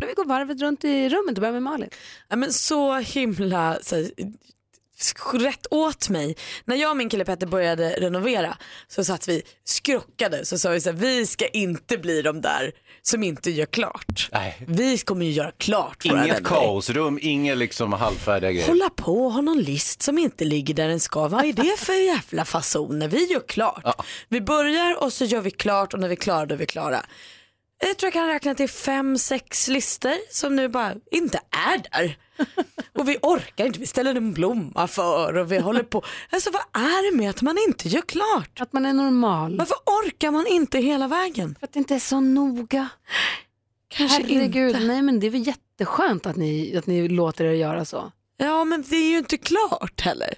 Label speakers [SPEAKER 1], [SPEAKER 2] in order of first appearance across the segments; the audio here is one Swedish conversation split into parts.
[SPEAKER 1] Då vi går varvet runt i rummet och börjar med Malin.
[SPEAKER 2] Ja, men så himla så, här, rätt åt mig. När jag och min kille Petter började renovera så satt vi skrockade så sa vi så här, vi ska inte bli de där som inte gör klart.
[SPEAKER 3] Nej.
[SPEAKER 2] Vi kommer ju göra klart våra
[SPEAKER 3] Inget
[SPEAKER 2] renoveringar.
[SPEAKER 3] kaosrum, inget liksom halvfärdiga grejer.
[SPEAKER 2] Hålla på och ha någon list som inte ligger där den ska. Vad är det för jävla fasoner? Vi gör klart. Vi börjar och så gör vi klart och när vi är klara då är vi klara. Jag tror jag kan räkna till fem, sex listor som nu bara inte är där. Och vi orkar inte, vi ställer en blomma för och vi håller på. Alltså vad är det med att man inte gör klart?
[SPEAKER 1] Att man är normal.
[SPEAKER 2] Varför orkar man inte hela vägen?
[SPEAKER 1] För att det inte är så noga.
[SPEAKER 2] Kanske
[SPEAKER 1] Herregud,
[SPEAKER 2] inte.
[SPEAKER 1] nej men det är väl jätteskönt att ni, att ni låter er göra så.
[SPEAKER 2] Ja men det är ju inte klart heller.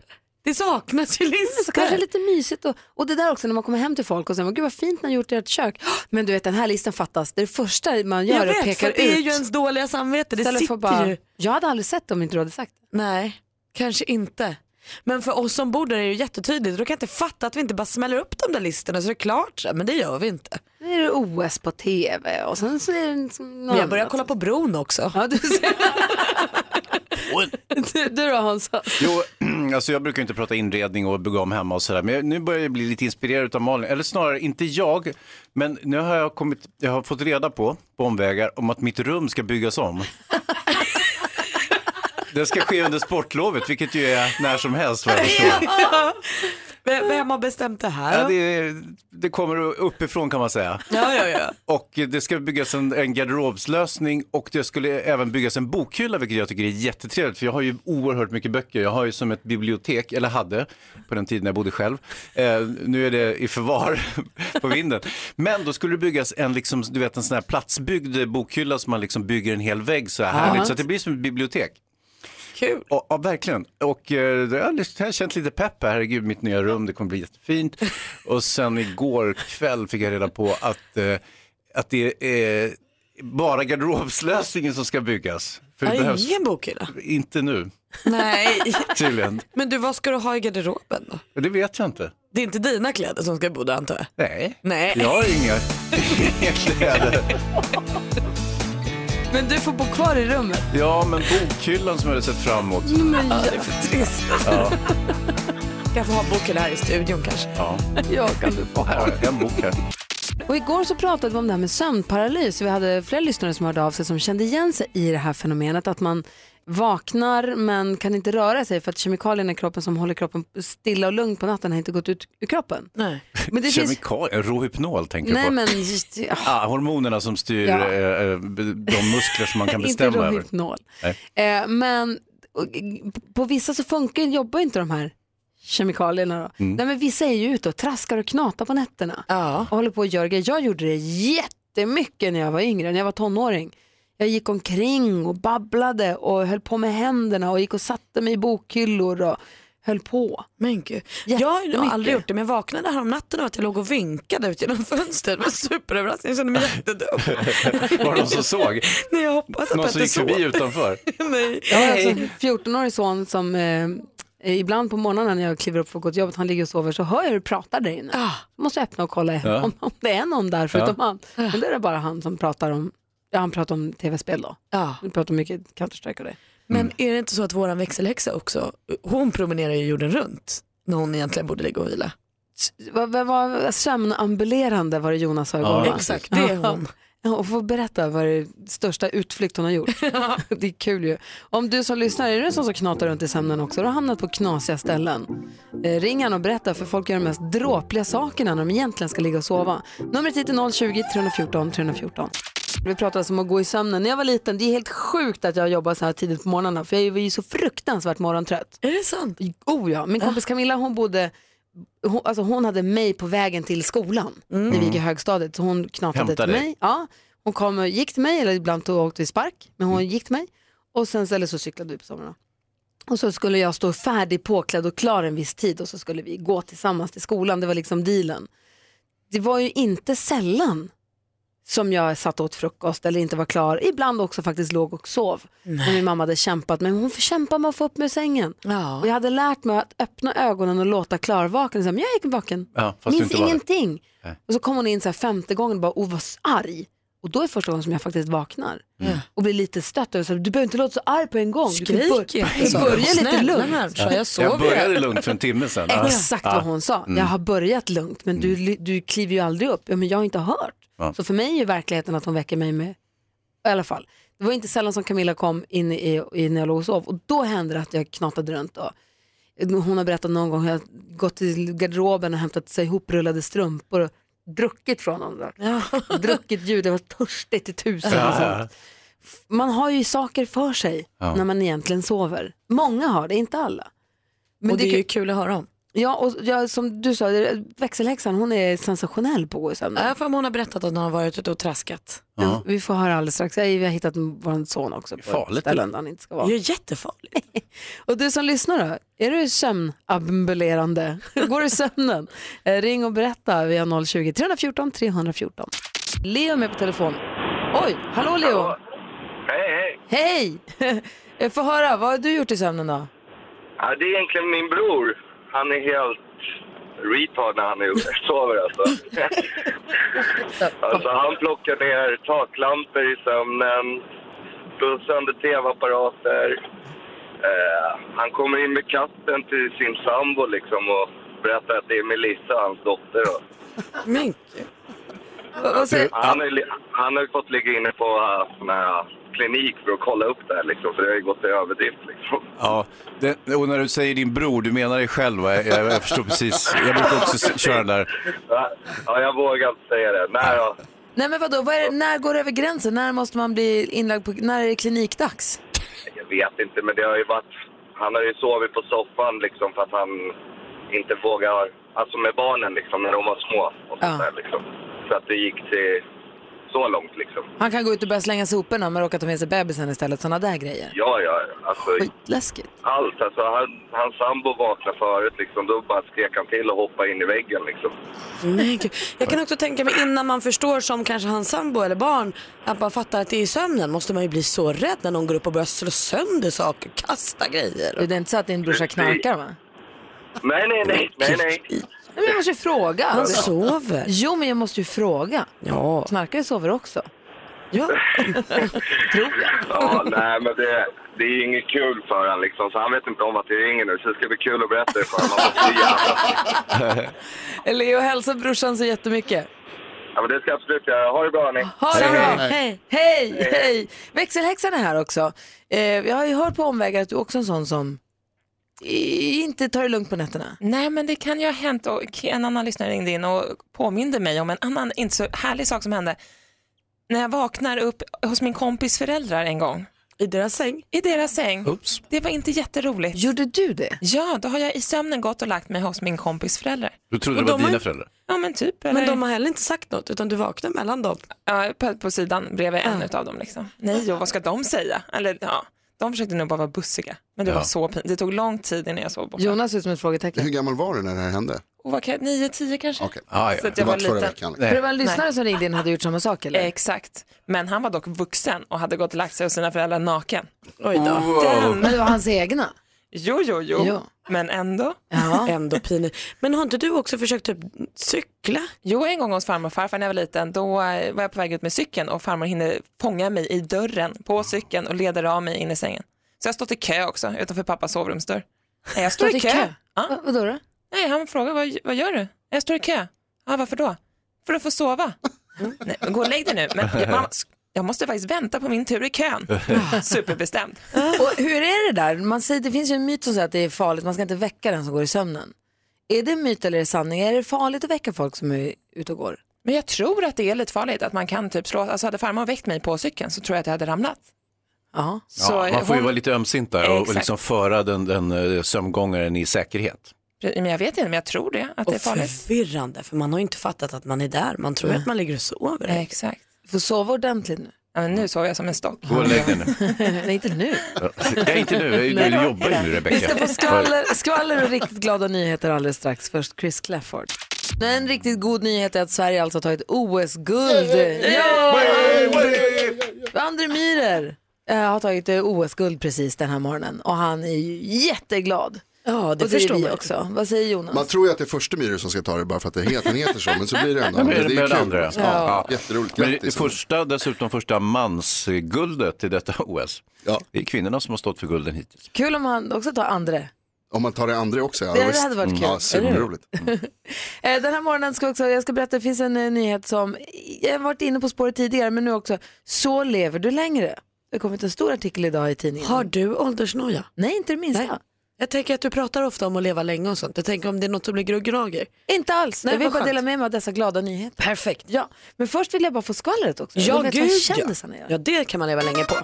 [SPEAKER 2] Det saknas ju
[SPEAKER 1] Så alltså, kanske
[SPEAKER 2] listor.
[SPEAKER 1] lite mysigt och, och det där också när man kommer hem till folk och säger gud vad fint ni har gjort i ert kök. Men du vet den här listan fattas, det är det första man gör
[SPEAKER 2] Jag
[SPEAKER 1] är att
[SPEAKER 2] vet,
[SPEAKER 1] pekar
[SPEAKER 2] för
[SPEAKER 1] ut.
[SPEAKER 2] det är ju ens dåliga samvete. Det
[SPEAKER 1] Istället för
[SPEAKER 2] sitter
[SPEAKER 1] att bara,
[SPEAKER 2] ju.
[SPEAKER 1] Jag hade aldrig sett det om inte du hade sagt det.
[SPEAKER 2] Nej, kanske inte. Men för oss som bor där är det ju jättetydligt. Då kan jag inte fatta att vi inte bara smäller upp de där listorna så är det klart. så här, Men det gör vi inte.
[SPEAKER 1] Nu är det OS på tv och sen så är det liksom något
[SPEAKER 2] Men jag börjar
[SPEAKER 1] annat.
[SPEAKER 2] kolla på bron också.
[SPEAKER 1] Ja, du, ser. du, du då Hansa?
[SPEAKER 3] Jo, alltså jag brukar ju inte prata inredning och bygga om hemma och sådär, men jag, nu börjar jag bli lite inspirerad av Malin. Eller snarare, inte jag, men nu har jag, kommit, jag har fått reda på, på omvägar, om att mitt rum ska byggas om. Det ska ske under sportlovet, vilket ju är när som helst vad jag förstår.
[SPEAKER 2] Vem vem har bestämt det här?
[SPEAKER 3] Ja, det, det kommer uppifrån kan man säga.
[SPEAKER 2] ja, ja, ja.
[SPEAKER 3] Och det ska byggas en, en garderobslösning och det skulle även byggas en bokhylla vilket jag tycker är jättetrevligt för jag har ju oerhört mycket böcker. Jag har ju som ett bibliotek, eller hade på den tiden jag bodde själv. Eh, nu är det i förvar på vinden. Men då skulle det byggas en, liksom, du vet, en sån här platsbyggd bokhylla som man liksom bygger en hel vägg så här härligt. Så att det blir som ett bibliotek.
[SPEAKER 2] Kul.
[SPEAKER 3] Ja, ja, verkligen. Och eh, jag har lyst- jag har känt lite pepp här. Herregud, mitt nya rum, det kommer bli jättefint. Och sen igår kväll fick jag reda på att, eh, att det är bara garderobslösningen som ska byggas. För det
[SPEAKER 2] Ja,
[SPEAKER 3] behövs
[SPEAKER 2] Ingen bokhylla.
[SPEAKER 3] inte nu,
[SPEAKER 2] Nej.
[SPEAKER 3] tydligen.
[SPEAKER 2] Men du, vad ska du ha i garderoben då?
[SPEAKER 3] Och Det vet jag inte.
[SPEAKER 2] Det är inte dina kläder som ska bo där antar jag?
[SPEAKER 3] Nej,
[SPEAKER 2] Nej.
[SPEAKER 3] jag har inga, inga kläder.
[SPEAKER 1] Men du får bo kvar i rummet.
[SPEAKER 3] Ja, men bokhyllan som jag hade sett fram emot.
[SPEAKER 2] Ja, det är för trist.
[SPEAKER 3] Ja.
[SPEAKER 2] Jag får ha bokhylla här i studion kanske.
[SPEAKER 3] Ja,
[SPEAKER 1] Jag kan du få.
[SPEAKER 3] här har jag en bok här.
[SPEAKER 1] Och igår så pratade vi om det här med sömnparalys. Vi hade flera lyssnare som hörde av sig som kände igen sig i det här fenomenet att man vaknar men kan inte röra sig för att kemikalierna i kroppen som håller kroppen stilla och lugn på natten har inte gått ut ur kroppen.
[SPEAKER 2] Nej.
[SPEAKER 1] Men det finns...
[SPEAKER 3] Kemikalier, Rohypnol tänker du
[SPEAKER 1] Nej
[SPEAKER 3] på.
[SPEAKER 1] men... Ja.
[SPEAKER 3] Ah, hormonerna som styr
[SPEAKER 1] Ja.
[SPEAKER 3] eh, eh, de muskler som man kan bestämma
[SPEAKER 1] inte
[SPEAKER 3] över.
[SPEAKER 1] Rohypnol.
[SPEAKER 3] Nej.
[SPEAKER 1] Eh, men och, på, på vissa så funkar, jobbar inte de här kemikalierna. Då.
[SPEAKER 3] Mm.
[SPEAKER 1] Nej, men vissa är ju ute och traskar och knatar på nätterna
[SPEAKER 2] Ja.
[SPEAKER 1] och håller på och gör grejer. Jag gjorde det jättemycket när jag var yngre, när jag var tonåring. Jag gick omkring och babblade och höll på med händerna och gick och satte mig i bokhyllor och höll på.
[SPEAKER 2] Men gud. Jag har
[SPEAKER 1] Jättemycket.
[SPEAKER 2] nog aldrig gjort det men jag vaknade här om natten och att jag låg och vinkade ut genom fönstret. Det var superöverraskning, jag kände mig jättedum.
[SPEAKER 3] Var det någon som såg?
[SPEAKER 2] Nej jag hoppas att
[SPEAKER 3] Någon som
[SPEAKER 2] Petter
[SPEAKER 3] gick
[SPEAKER 2] såg.
[SPEAKER 3] förbi utanför?
[SPEAKER 2] Nej.
[SPEAKER 1] Jag har alltså en 14-årig son som eh, ibland på morgonen när jag kliver upp för att gå till jobbet, han ligger och sover, så hör jag hur du pratar där inne.
[SPEAKER 2] Ah,
[SPEAKER 1] måste öppna och kolla
[SPEAKER 3] Ja.
[SPEAKER 1] om, om det är någon där förutom han. Men då är det bara han som pratar om, ja, han pratar om tv-spel då.
[SPEAKER 2] ja.
[SPEAKER 1] Han pratar mycket Counter-Strike och det.
[SPEAKER 2] Men är det inte så att våran växelhäxa också, hon promenerar ju jorden runt när hon egentligen borde ligga och vila.
[SPEAKER 1] Vad- vad- vad- Sömnambulerande var det Jonas sa igår
[SPEAKER 3] Ja,
[SPEAKER 1] va?
[SPEAKER 2] Exakt, det är hon.
[SPEAKER 1] Ja, och få berätta vad det största utflykt hon har gjort. det är kul ju. Om du som lyssnar är du en sån som knatar runt i sömnen också och har hamnat på knasiga ställen. Eh, ring han och berätta för folk gör de mest dråpliga sakerna när de egentligen ska ligga och sova. Numret hit är 020-314 314. Vi pratade alltså om att gå i sömnen. När jag var liten, det är helt sjukt att jag jobbar så här tidigt på morgnarna för jag var ju så fruktansvärt morgontrött.
[SPEAKER 2] Är det sant? Ah.
[SPEAKER 1] Oh ja, min kompis Camilla hon bodde hon, alltså hon hade mig på vägen till skolan när
[SPEAKER 2] Mm.
[SPEAKER 1] vi gick i högstadiet. Så hon knatade
[SPEAKER 3] Hämtade
[SPEAKER 1] till
[SPEAKER 3] dig.
[SPEAKER 1] mig. Ja, hon kom
[SPEAKER 3] Mm.
[SPEAKER 1] och gick till mig, eller ibland tog, åkte vi spark, men hon gick till mig. Och sen så- eller så cyklade vi på somrarna. Och så skulle jag stå färdig påklädd och klar en viss tid och så skulle vi gå tillsammans till skolan. Det var liksom dealen. Det var ju inte sällan som jag satt åt frukost eller inte var klar. Ibland också faktiskt låg och sov. När min mamma hade kämpat. Men hon får kämpa med att få upp mig ur sängen.
[SPEAKER 2] Ja.
[SPEAKER 1] Och jag hade lärt mig att öppna ögonen och låta klarvaken. Så här, men jag är vaken.
[SPEAKER 3] Ja, fast du
[SPEAKER 1] Minns
[SPEAKER 3] inte var det.
[SPEAKER 1] ingenting.
[SPEAKER 3] Nej.
[SPEAKER 1] Och så kom hon in så här femte gången och bara, oh vad arg. Och då är första gången som jag faktiskt vaknar. Och blir lite stött. över så här, Du behöver inte låta så arg på en gång. Du kan
[SPEAKER 2] Mm. Skrik
[SPEAKER 1] bör-
[SPEAKER 2] inte så.
[SPEAKER 1] Börja lite
[SPEAKER 2] Snälla
[SPEAKER 1] lugnt.
[SPEAKER 2] människa, Alltså, jag
[SPEAKER 3] Jag
[SPEAKER 2] sover
[SPEAKER 3] började
[SPEAKER 2] ju.
[SPEAKER 3] lugnt för en timme sedan. Ja. Mm.
[SPEAKER 1] Exakt vad hon sa. Jag har börjat lugnt men du, ly- du kliver ju aldrig upp. Ja, men jag har inte hört.
[SPEAKER 3] Ja.
[SPEAKER 1] Så för mig är ju verkligheten att hon väcker mig med, i alla fall. Det var inte sällan som Camilla kom in i, i när jag låg och sov och då hände det att jag knatade runt. Och, hon har berättat någon gång hur jag gått till garderoben och hämtat sig ihoprullade strumpor och druckit från honom. druckit ljud, jag var törstig till tusen. och
[SPEAKER 3] Ja,
[SPEAKER 1] sånt.
[SPEAKER 3] ja.
[SPEAKER 1] Man har ju saker för sig
[SPEAKER 3] Ja.
[SPEAKER 1] när man egentligen sover. Många har det, inte alla. Men
[SPEAKER 2] Och det är
[SPEAKER 1] kan-
[SPEAKER 2] ju kul att höra om.
[SPEAKER 1] Ja, och jag, som du sa, växelhäxan hon är sensationell på att gå i sömnen.
[SPEAKER 2] Äh, Jag har för mig hon har berättat att hon har varit ute och traskat.
[SPEAKER 3] Ja.
[SPEAKER 1] Vi får höra alldeles strax. Jag- Vi har hittat vår son också på
[SPEAKER 3] Farligt,
[SPEAKER 1] ett ställe där han inte ska vara.
[SPEAKER 2] Det är ju jättefarligt.
[SPEAKER 1] Och du som lyssnar då, är du sömnambulerande? Går du i sömnen? Eh, Ring och berätta via 020 314 314. Leo är med på telefon. Oj, hallå Leo!
[SPEAKER 4] Hej, hej.
[SPEAKER 1] Hej! Jag får höra, vad har du gjort i sömnen då?
[SPEAKER 4] Ja, det är egentligen min bror. Han är helt retard när han är, sover alltså. alltså. Han plockar ner taklampor i sömnen, slår sönder tv-apparater. Eh, han kommer in med katten till sin sambo liksom och berättar att det är Melissa, hans dotter. Då.
[SPEAKER 2] Men gud.
[SPEAKER 1] Vad- vad säger-
[SPEAKER 4] Han, har ju li- han har ju fått ligga inne på eh, sån här klinik för att kolla upp det här liksom, för det har ju gått till överdrift liksom.
[SPEAKER 3] Ja, det, och när du säger din bror, du menar dig själv va? Jag, jag förstår precis. Jag brukar också s- köra den där.
[SPEAKER 4] Ja, ja, jag vågar inte säga det. Nej, då.
[SPEAKER 1] Nej men vadå, vad är det, när går det över gränsen? När måste man bli inlagd på, när är det klinikdags?
[SPEAKER 4] Jag vet inte, men det har ju varit... Han har ju sovit på soffan liksom för att han inte vågar... Alltså med barnen liksom, när de var små och sånt
[SPEAKER 1] Ja.
[SPEAKER 4] där liksom. Så att det gick till så långt liksom.
[SPEAKER 1] Han kan gå ut och börja slänga soporna men råkar ta med sig bebisen istället. Sådana där grejer.
[SPEAKER 4] Ja, ja, alltså
[SPEAKER 1] Skitläskigt.
[SPEAKER 4] allt. Alltså han, hans sambo vaknade förut liksom. Då bara skrek han till och hoppade in i väggen liksom.
[SPEAKER 2] Men gud. Jag kan också tänka mig innan man förstår som kanske hans sambo eller barn att man fattar att det är i sömnen måste man ju bli så rädd när någon går upp och börjar slå sönder saker, kasta
[SPEAKER 1] Du,
[SPEAKER 2] grejer.
[SPEAKER 1] Det är inte så att din brorsa knarkar va?
[SPEAKER 4] Nej, nej, nej, nej, nej.
[SPEAKER 1] Nej, men jag måste ju fråga.
[SPEAKER 2] Han sover.
[SPEAKER 1] Jo men jag måste ju fråga.
[SPEAKER 2] Ja.
[SPEAKER 1] Knarkare sover också.
[SPEAKER 2] ja.
[SPEAKER 1] Tror jag.
[SPEAKER 4] Ja, nej, men det, det är inget kul för han liksom. Så han vet inte om att det ringer nu. Så det ska bli kul att berätta det för honom. Han måste ju jävla
[SPEAKER 1] Leo, hälsa brorsan så jättemycket.
[SPEAKER 4] Ja, men det ska jag absolut göra. Ha det bra, hörni.
[SPEAKER 1] Ha det bra.
[SPEAKER 2] Hej.
[SPEAKER 1] Hej, hej. Växelhäxan är här också. Eh, jag har ju hört på omvägar att du också är en sån som i- inte tar det lugnt på nätterna.
[SPEAKER 5] Nej, men det kan ju ha hänt. Och en annan lyssnare ringde in och påminde mig om en annan inte så härlig sak som hände. När jag vaknar upp hos min kompis föräldrar en gång
[SPEAKER 2] I deras säng.
[SPEAKER 5] i deras säng.
[SPEAKER 3] Oops.
[SPEAKER 5] Det var inte jätteroligt.
[SPEAKER 1] Gjorde du det?
[SPEAKER 5] Ja, då har jag i sömnen gått och lagt mig hos min kompis föräldrar.
[SPEAKER 3] Du trodde
[SPEAKER 2] Och
[SPEAKER 3] det var
[SPEAKER 2] de har-
[SPEAKER 3] dina föräldrar?
[SPEAKER 5] Ja, men typ. Eller,
[SPEAKER 2] Men de har heller inte sagt något utan du vaknar mellan dem.
[SPEAKER 5] ja, på, på sidan bredvid en utav dem. Liksom. Nej, och vad ska de säga? Eller, ja, de försökte nog bara vara bussiga. Men det
[SPEAKER 3] Ja.
[SPEAKER 5] var så pinsamt. Det tog lång tid innan jag sov borta.
[SPEAKER 1] Jonas ser ut som ett frågetecken.
[SPEAKER 6] Hur gammal var du när det här hände?
[SPEAKER 5] Och vad kan jag- Nio, tio kanske?
[SPEAKER 6] Okej.
[SPEAKER 3] Ah,
[SPEAKER 5] Så
[SPEAKER 3] ja.
[SPEAKER 5] att
[SPEAKER 6] Det
[SPEAKER 5] jag
[SPEAKER 6] var
[SPEAKER 5] var
[SPEAKER 6] inte förra
[SPEAKER 5] liten.
[SPEAKER 6] veckan.
[SPEAKER 1] För det var en lyssnare som ringde in och hade gjort samma sak eller?
[SPEAKER 5] Exakt, men han var dock vuxen och hade gått och lagt sig hos sina föräldrar naken.
[SPEAKER 2] Oj då.
[SPEAKER 1] Men det var hans egna.
[SPEAKER 5] Jo, jo, jo,
[SPEAKER 1] Ja.
[SPEAKER 5] men ändå.
[SPEAKER 1] Ja.
[SPEAKER 2] Ändå pinigt. Men har inte du också försökt typ cykla?
[SPEAKER 5] Jo, en gång hos farmor och farfar när jag var liten, då eh, var jag på väg ut med cykeln och farmor hinner fånga mig i dörren på cykeln och leder av mig in i sängen. Så jag har stått i kö också utanför pappas sovrumsdörr. Nej, jag står i kö. Ja.
[SPEAKER 1] Va- Vadå då?
[SPEAKER 5] Nej, han frågar vad, vad gör du? Jag står i kö. Ja, varför då? För att få sova.
[SPEAKER 3] Mm.
[SPEAKER 5] Nej, men gå och lägg dig nu. Men jag, mamma, sk- jag måste faktiskt vänta på min tur i kön. Superbestämd.
[SPEAKER 1] Och hur är det där? Man säger, det finns ju en myt som säger att det är farligt, man ska inte väcka den som går i sömnen. Är det en myt eller är det sanning? Är det farligt att väcka folk som är ute och går?
[SPEAKER 5] Men jag tror att det är lite farligt att man kan typ slå, alltså hade farmor väckt mig på cykeln så tror jag att jag hade ramlat.
[SPEAKER 1] Ja.
[SPEAKER 5] Så
[SPEAKER 3] Ja, man får ju
[SPEAKER 5] hon-
[SPEAKER 3] vara lite ömsint där och, och
[SPEAKER 5] Exakt.
[SPEAKER 3] liksom föra den, den eh, sömngångaren i säkerhet.
[SPEAKER 5] Men jag vet inte, men jag tror det, att det är
[SPEAKER 2] Och
[SPEAKER 5] farligt.
[SPEAKER 2] förvirrande för man har ju inte fattat att man är där. Man tror att man ligger och sover.
[SPEAKER 5] Exakt.
[SPEAKER 1] Du får sova ordentligt nu.
[SPEAKER 5] Ja, men nu sover jag som en stock.
[SPEAKER 3] Gå och lägg dig nu.
[SPEAKER 1] Nej, inte nu.
[SPEAKER 3] Nej, inte nu. Du jobbar ju nu
[SPEAKER 1] Vi ska få
[SPEAKER 3] Rebecka.
[SPEAKER 1] skvaller, skvaller och riktigt glada nyheter alldeles strax. Först Chris Clafford. En riktigt god nyhet är att Sverige alltså har tagit OS-guld. Ja! Andre Myhrer eh, har tagit eh, OS-guld precis den här morgonen och han är ju jätteglad.
[SPEAKER 2] Ja, det
[SPEAKER 1] och det
[SPEAKER 2] förstår
[SPEAKER 1] är vi
[SPEAKER 2] man.
[SPEAKER 1] också. Vad säger Jonas?
[SPEAKER 6] Man tror ju att det är första Myhre som ska ta det bara för att det heter, den heter så, men så blir det ändå.
[SPEAKER 3] Ja,
[SPEAKER 6] Men
[SPEAKER 3] men
[SPEAKER 6] det är
[SPEAKER 3] med
[SPEAKER 6] kul.
[SPEAKER 3] andra.
[SPEAKER 6] Ja.
[SPEAKER 3] Ja.
[SPEAKER 6] Jätteroligt,
[SPEAKER 3] Men det
[SPEAKER 6] grattis.
[SPEAKER 3] första, dessutom första mansguldet till detta OS.
[SPEAKER 6] Ja.
[SPEAKER 3] Det är kvinnorna som har stått för gulden hittills.
[SPEAKER 1] Kul om han också tar andre.
[SPEAKER 6] Om man tar det andra också, ja.
[SPEAKER 1] Det- det
[SPEAKER 6] visst. Mm.
[SPEAKER 1] hade varit kul,
[SPEAKER 6] Ja, superroligt.
[SPEAKER 1] Eh, Den här morgonen ska jag också, jag ska berätta, det finns en eh, nyhet som, jag har varit inne på spåret tidigare men nu också, så lever du längre. Det har kommit en stor artikel idag i tidningen.
[SPEAKER 2] Har du åldersnoja?
[SPEAKER 1] Nej, inte det minsta.
[SPEAKER 2] Nej. Jag tänker att du pratar ofta om att leva länge och sånt. Jag tänker om det är något som blir groggrager.
[SPEAKER 1] Inte alls.
[SPEAKER 2] Nej,
[SPEAKER 1] jag vill
[SPEAKER 2] vad
[SPEAKER 1] bara
[SPEAKER 2] skönt.
[SPEAKER 1] dela med mig av dessa glada nyheter.
[SPEAKER 2] Perfekt.
[SPEAKER 1] Ja, men först vill jag bara få skvallret också.
[SPEAKER 2] Ja,
[SPEAKER 1] jag vet vad
[SPEAKER 2] gud,
[SPEAKER 1] kändisarna gör.
[SPEAKER 2] Ja, det kan man leva länge på.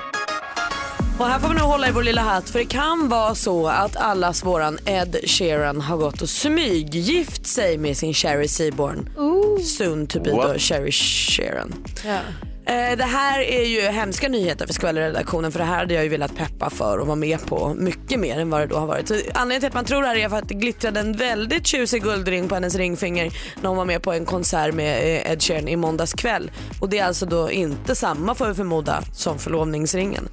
[SPEAKER 2] Och här får vi nu hålla i vår lilla hatt för det kan vara så att allas våran Ed Sheeran har gått och smyggift sig med sin Sherry Seaborn. Soon to be då
[SPEAKER 3] What?
[SPEAKER 2] Sherry Sheeran. Eh, Det här är ju hemska nyheter för skvallerredaktionen för det här hade jag ju velat peppa för och vara med på mycket mer än vad det då har varit. Så anledningen till att man tror det här är för att det glittrade en väldigt tjusig guldring på hennes ringfinger när hon var med på en konsert med eh, Ed Sheeran i måndags kväll. Och det är alltså då inte samma får vi förmoda som förlovningsringen.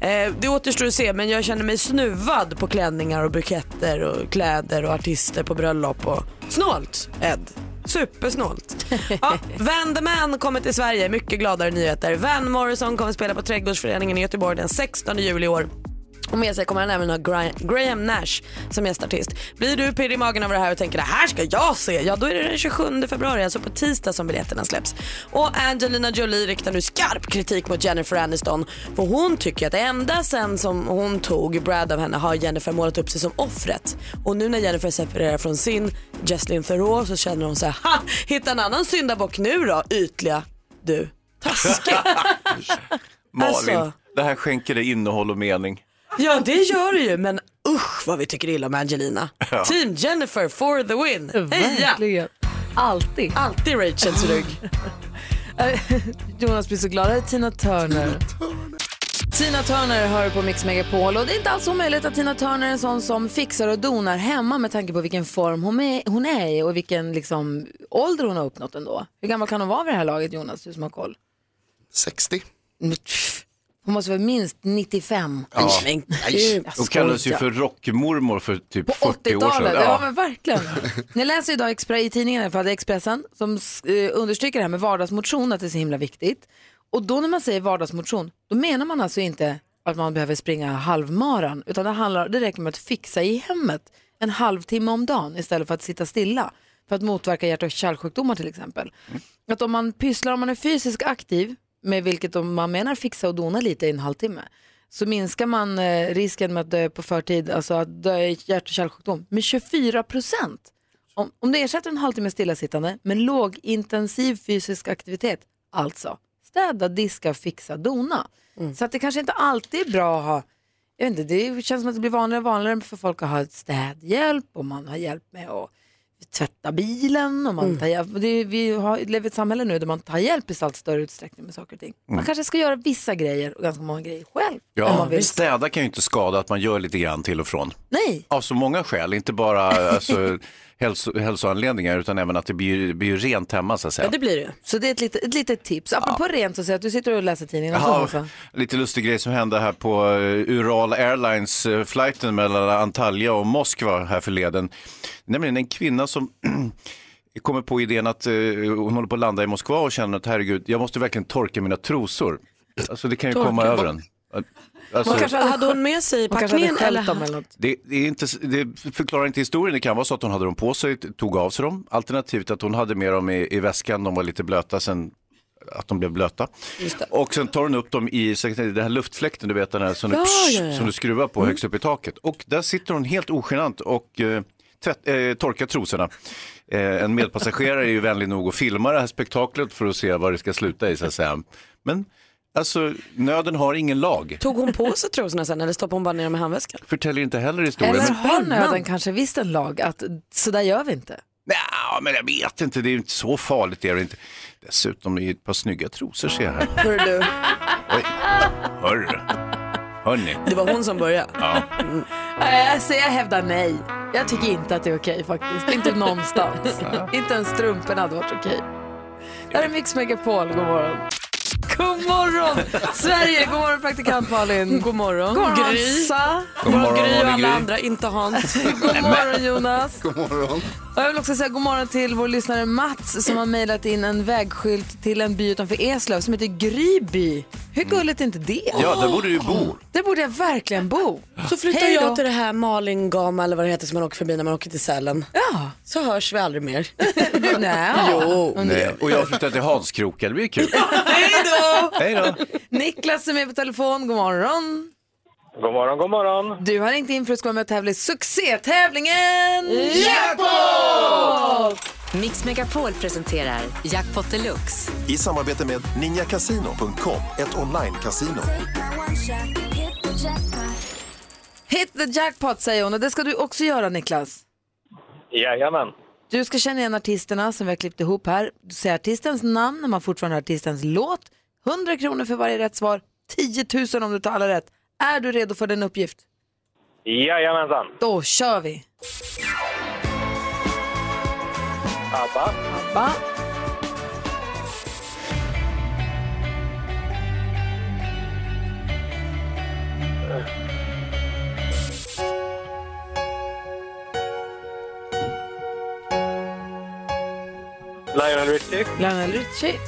[SPEAKER 2] Eh, Det återstår att se men jag känner mig snuvad på klänningar och buketter och kläder och artister på bröllop och snålt Ed. Supersnålt. Ja, Van the Man kommer till Sverige. Mycket gladare nyheter. Van Morrison kommer spela på Trädgårdsföreningen i Göteborg den 16 juli i år. Och med sig kommer han även ha Gra- Graham Nash som gästartist. Blir du pirrig i magen av det här och tänker det här ska jag se, ja då är det den 27 februari, alltså på tisdag som biljetterna släpps. Och Angelina Jolie riktar nu skarp kritik mot Jennifer Aniston för hon tycker att ända sen som hon tog Brad av henne har Jennifer målat upp sig som offret. Och nu när Jennifer separerar från sin Jesslyn Theroux så känner hon så här, ha, hitta en annan syndabock nu då, ytliga du. Taskig.
[SPEAKER 3] Malin,
[SPEAKER 2] Alltså.
[SPEAKER 3] det här skänker dig innehåll och mening.
[SPEAKER 2] Ja det gör det ju men usch vad vi tycker illa om Angelina. Team Jennifer for the win. Heja!
[SPEAKER 1] Verkligen. Alltid. Eh,
[SPEAKER 2] Alltid Rachels rygg.
[SPEAKER 1] Jonas blir så glad. Här är Tina Turner. Tina Turner hör på Mix Megapol och det är inte alls omöjligt att Tina Turner är en sån som fixar och donar hemma med tanke på vilken form hon är, hon är i och vilken liksom, ålder hon har uppnått ändå. Hur gammal kan hon vara vid det här laget Jonas, du som har koll?
[SPEAKER 6] 60.
[SPEAKER 1] Men, pff, Hon måste vara minst 95. Ja.
[SPEAKER 2] Men
[SPEAKER 1] alltså.
[SPEAKER 6] Nej.
[SPEAKER 3] Hon kallades ju för rockmormor för typ 40 år sedan.
[SPEAKER 1] Ja.
[SPEAKER 3] Ja.
[SPEAKER 1] men verkligen. Ni läser idag Expre- i tidningen, i alla fall, det är Expressen, som eh, understryker det här med vardagsmotion, att det är så himla viktigt. Och då när man säger vardagsmotion, då menar man alltså inte att man behöver springa halvmaran, utan det, handlar, det räcker med att fixa i hemmet en halvtimme om dagen istället för att sitta stilla för att motverka hjärt och kärlsjukdomar till exempel. Att om man pysslar, om man är fysiskt aktiv, med vilket om man menar fixa och dona lite i en halvtimme, så minskar man eh, risken med att dö på förtid, alltså att dö i hjärt och kärlsjukdom, med 24 procent. Om, om du ersätter en halvtimme stillasittande med lågintensiv fysisk aktivitet, alltså städa, diska, fixa, dona.
[SPEAKER 2] Mm.
[SPEAKER 1] Så att det kanske inte alltid är bra att ha, jag vet inte, det känns som att det blir vanligare och vanligare för folk att ha städhjälp och man har hjälp med att tvätta bilen och man
[SPEAKER 2] Mm.
[SPEAKER 1] tar hjälp. Det, vi har, lever i ett samhälle nu där man tar hjälp i allt större utsträckning med saker och ting.
[SPEAKER 2] Mm.
[SPEAKER 1] Man kanske ska göra vissa grejer och ganska många grejer själv. om man
[SPEAKER 3] Ja,
[SPEAKER 1] vill.
[SPEAKER 3] städa kan ju inte skada att man gör lite grann till och från.
[SPEAKER 1] Nej,
[SPEAKER 3] Av så många skäl, inte bara alltså, hälso, hälsoanledningar utan även att det blir, blir rent hemma så att säga.
[SPEAKER 2] det blir det.
[SPEAKER 1] så det är ett litet, ett litet tips. Apropå rent så säger jag att du sitter och läser tidningen.
[SPEAKER 3] Jaha,
[SPEAKER 1] och så också.
[SPEAKER 3] lite lustig grej som hände här på eh, Ural Airlines-flighten mellan Antalya och Moskva här förleden. Nämligen en kvinna som kommer på idén att eh, hon håller på att landa i Moskva och känner att herregud, jag måste verkligen torka mina trosor. Alltså det kan ju komma över en. Alltså,
[SPEAKER 2] hade hon med sig i
[SPEAKER 1] Man kanske hade
[SPEAKER 2] packningen
[SPEAKER 1] skällt
[SPEAKER 2] eller?
[SPEAKER 1] dem eller något.
[SPEAKER 3] det, det, är inte, det förklarar inte historien. Det kan vara så att hon hade dem på sig, tog av sig dem. Alternativt att hon hade med dem i, i väskan, de var lite blöta sen att de blev blöta. Och sen tar hon upp dem i så- den här luftfläkten, du vet den här som, du,
[SPEAKER 2] ja, Mm. ja.
[SPEAKER 3] som du skruvar på högst upp i taket. Och där sitter hon helt ogenant och eh, tvätt, eh, torkar trosorna. Eh, en medpassagerare är ju vänlig nog att filma det här spektaklet för att se vad det ska sluta i så att säga. Men alltså, nöden har ingen lag.
[SPEAKER 2] Tog hon på sig trosorna sen eller stoppade hon bara ner dem i handväskan?
[SPEAKER 3] Förtäljer inte heller historien.
[SPEAKER 1] Eller
[SPEAKER 3] men-
[SPEAKER 1] har nöden kanske visst en lag att så där gör vi inte.
[SPEAKER 3] Nej, men jag vet inte, det är ju inte så farligt. Det är det inte. Dessutom är det ett par snygga trosor ser jag här.
[SPEAKER 2] Hörru du,
[SPEAKER 3] Oj, hörru. Hörni.
[SPEAKER 2] det var hon som började.
[SPEAKER 3] Ja.
[SPEAKER 1] Äh, så jag hävdar nej. Jag tycker inte att det är okej faktiskt. Inte någonstans. inte ens strumporna hade varit okej. Det här är Mix Megapol. God morgon. God morgon Sverige! God morgon praktikant Malin. God morgon. God morgon
[SPEAKER 2] Gry.
[SPEAKER 1] Hansa.
[SPEAKER 3] God morgon,
[SPEAKER 2] Gry och alla
[SPEAKER 3] Gry.
[SPEAKER 2] andra, inte Hans.
[SPEAKER 1] God morgon Jonas.
[SPEAKER 6] God morgon.
[SPEAKER 1] Och jag vill också säga god morgon till vår lyssnare Mats som har mejlat in en vägskylt till en by utanför Eslöv som heter Gryby. Hur gulligt är inte det?
[SPEAKER 3] ja, där borde du ju bo.
[SPEAKER 1] Det borde jag verkligen bo.
[SPEAKER 2] Så flyttar
[SPEAKER 1] Ah. Hej då.
[SPEAKER 2] jag till det här Malingama eller vad det heter som man åker förbi när man åker till Sälen.
[SPEAKER 1] Ja.
[SPEAKER 2] Så hörs vi aldrig mer.
[SPEAKER 1] Nej.
[SPEAKER 2] Jo.
[SPEAKER 3] Nej. Och jag flyttar till Hanskroka, det blir kul.
[SPEAKER 1] Hej då!
[SPEAKER 3] Hej då.
[SPEAKER 1] Niklas som är på telefon, god morgon.
[SPEAKER 4] God morgon, god morgon.
[SPEAKER 1] Du har ringt in för att ska vara med och tävla i succétävlingen Jackpot!
[SPEAKER 7] Mix Megapol presenterar Jackpot Deluxe.
[SPEAKER 8] I samarbete med ninjakasino.com, ett online-casino.
[SPEAKER 1] Hit the jackpot säger hon och det ska du också göra Niklas.
[SPEAKER 4] Jajamän.
[SPEAKER 1] Du ska känna igen artisterna som vi har klippt ihop här. Du säger artistens namn när man fortfarande har artistens låt. 100 kronor för varje rätt svar. 10 000 om du tar alla rätt. Är du redo för den uppgift?
[SPEAKER 4] Jajamensan.
[SPEAKER 1] Då kör vi!
[SPEAKER 4] ABBA,
[SPEAKER 1] Va?
[SPEAKER 4] Lionel Richie,
[SPEAKER 1] Lionel Richie.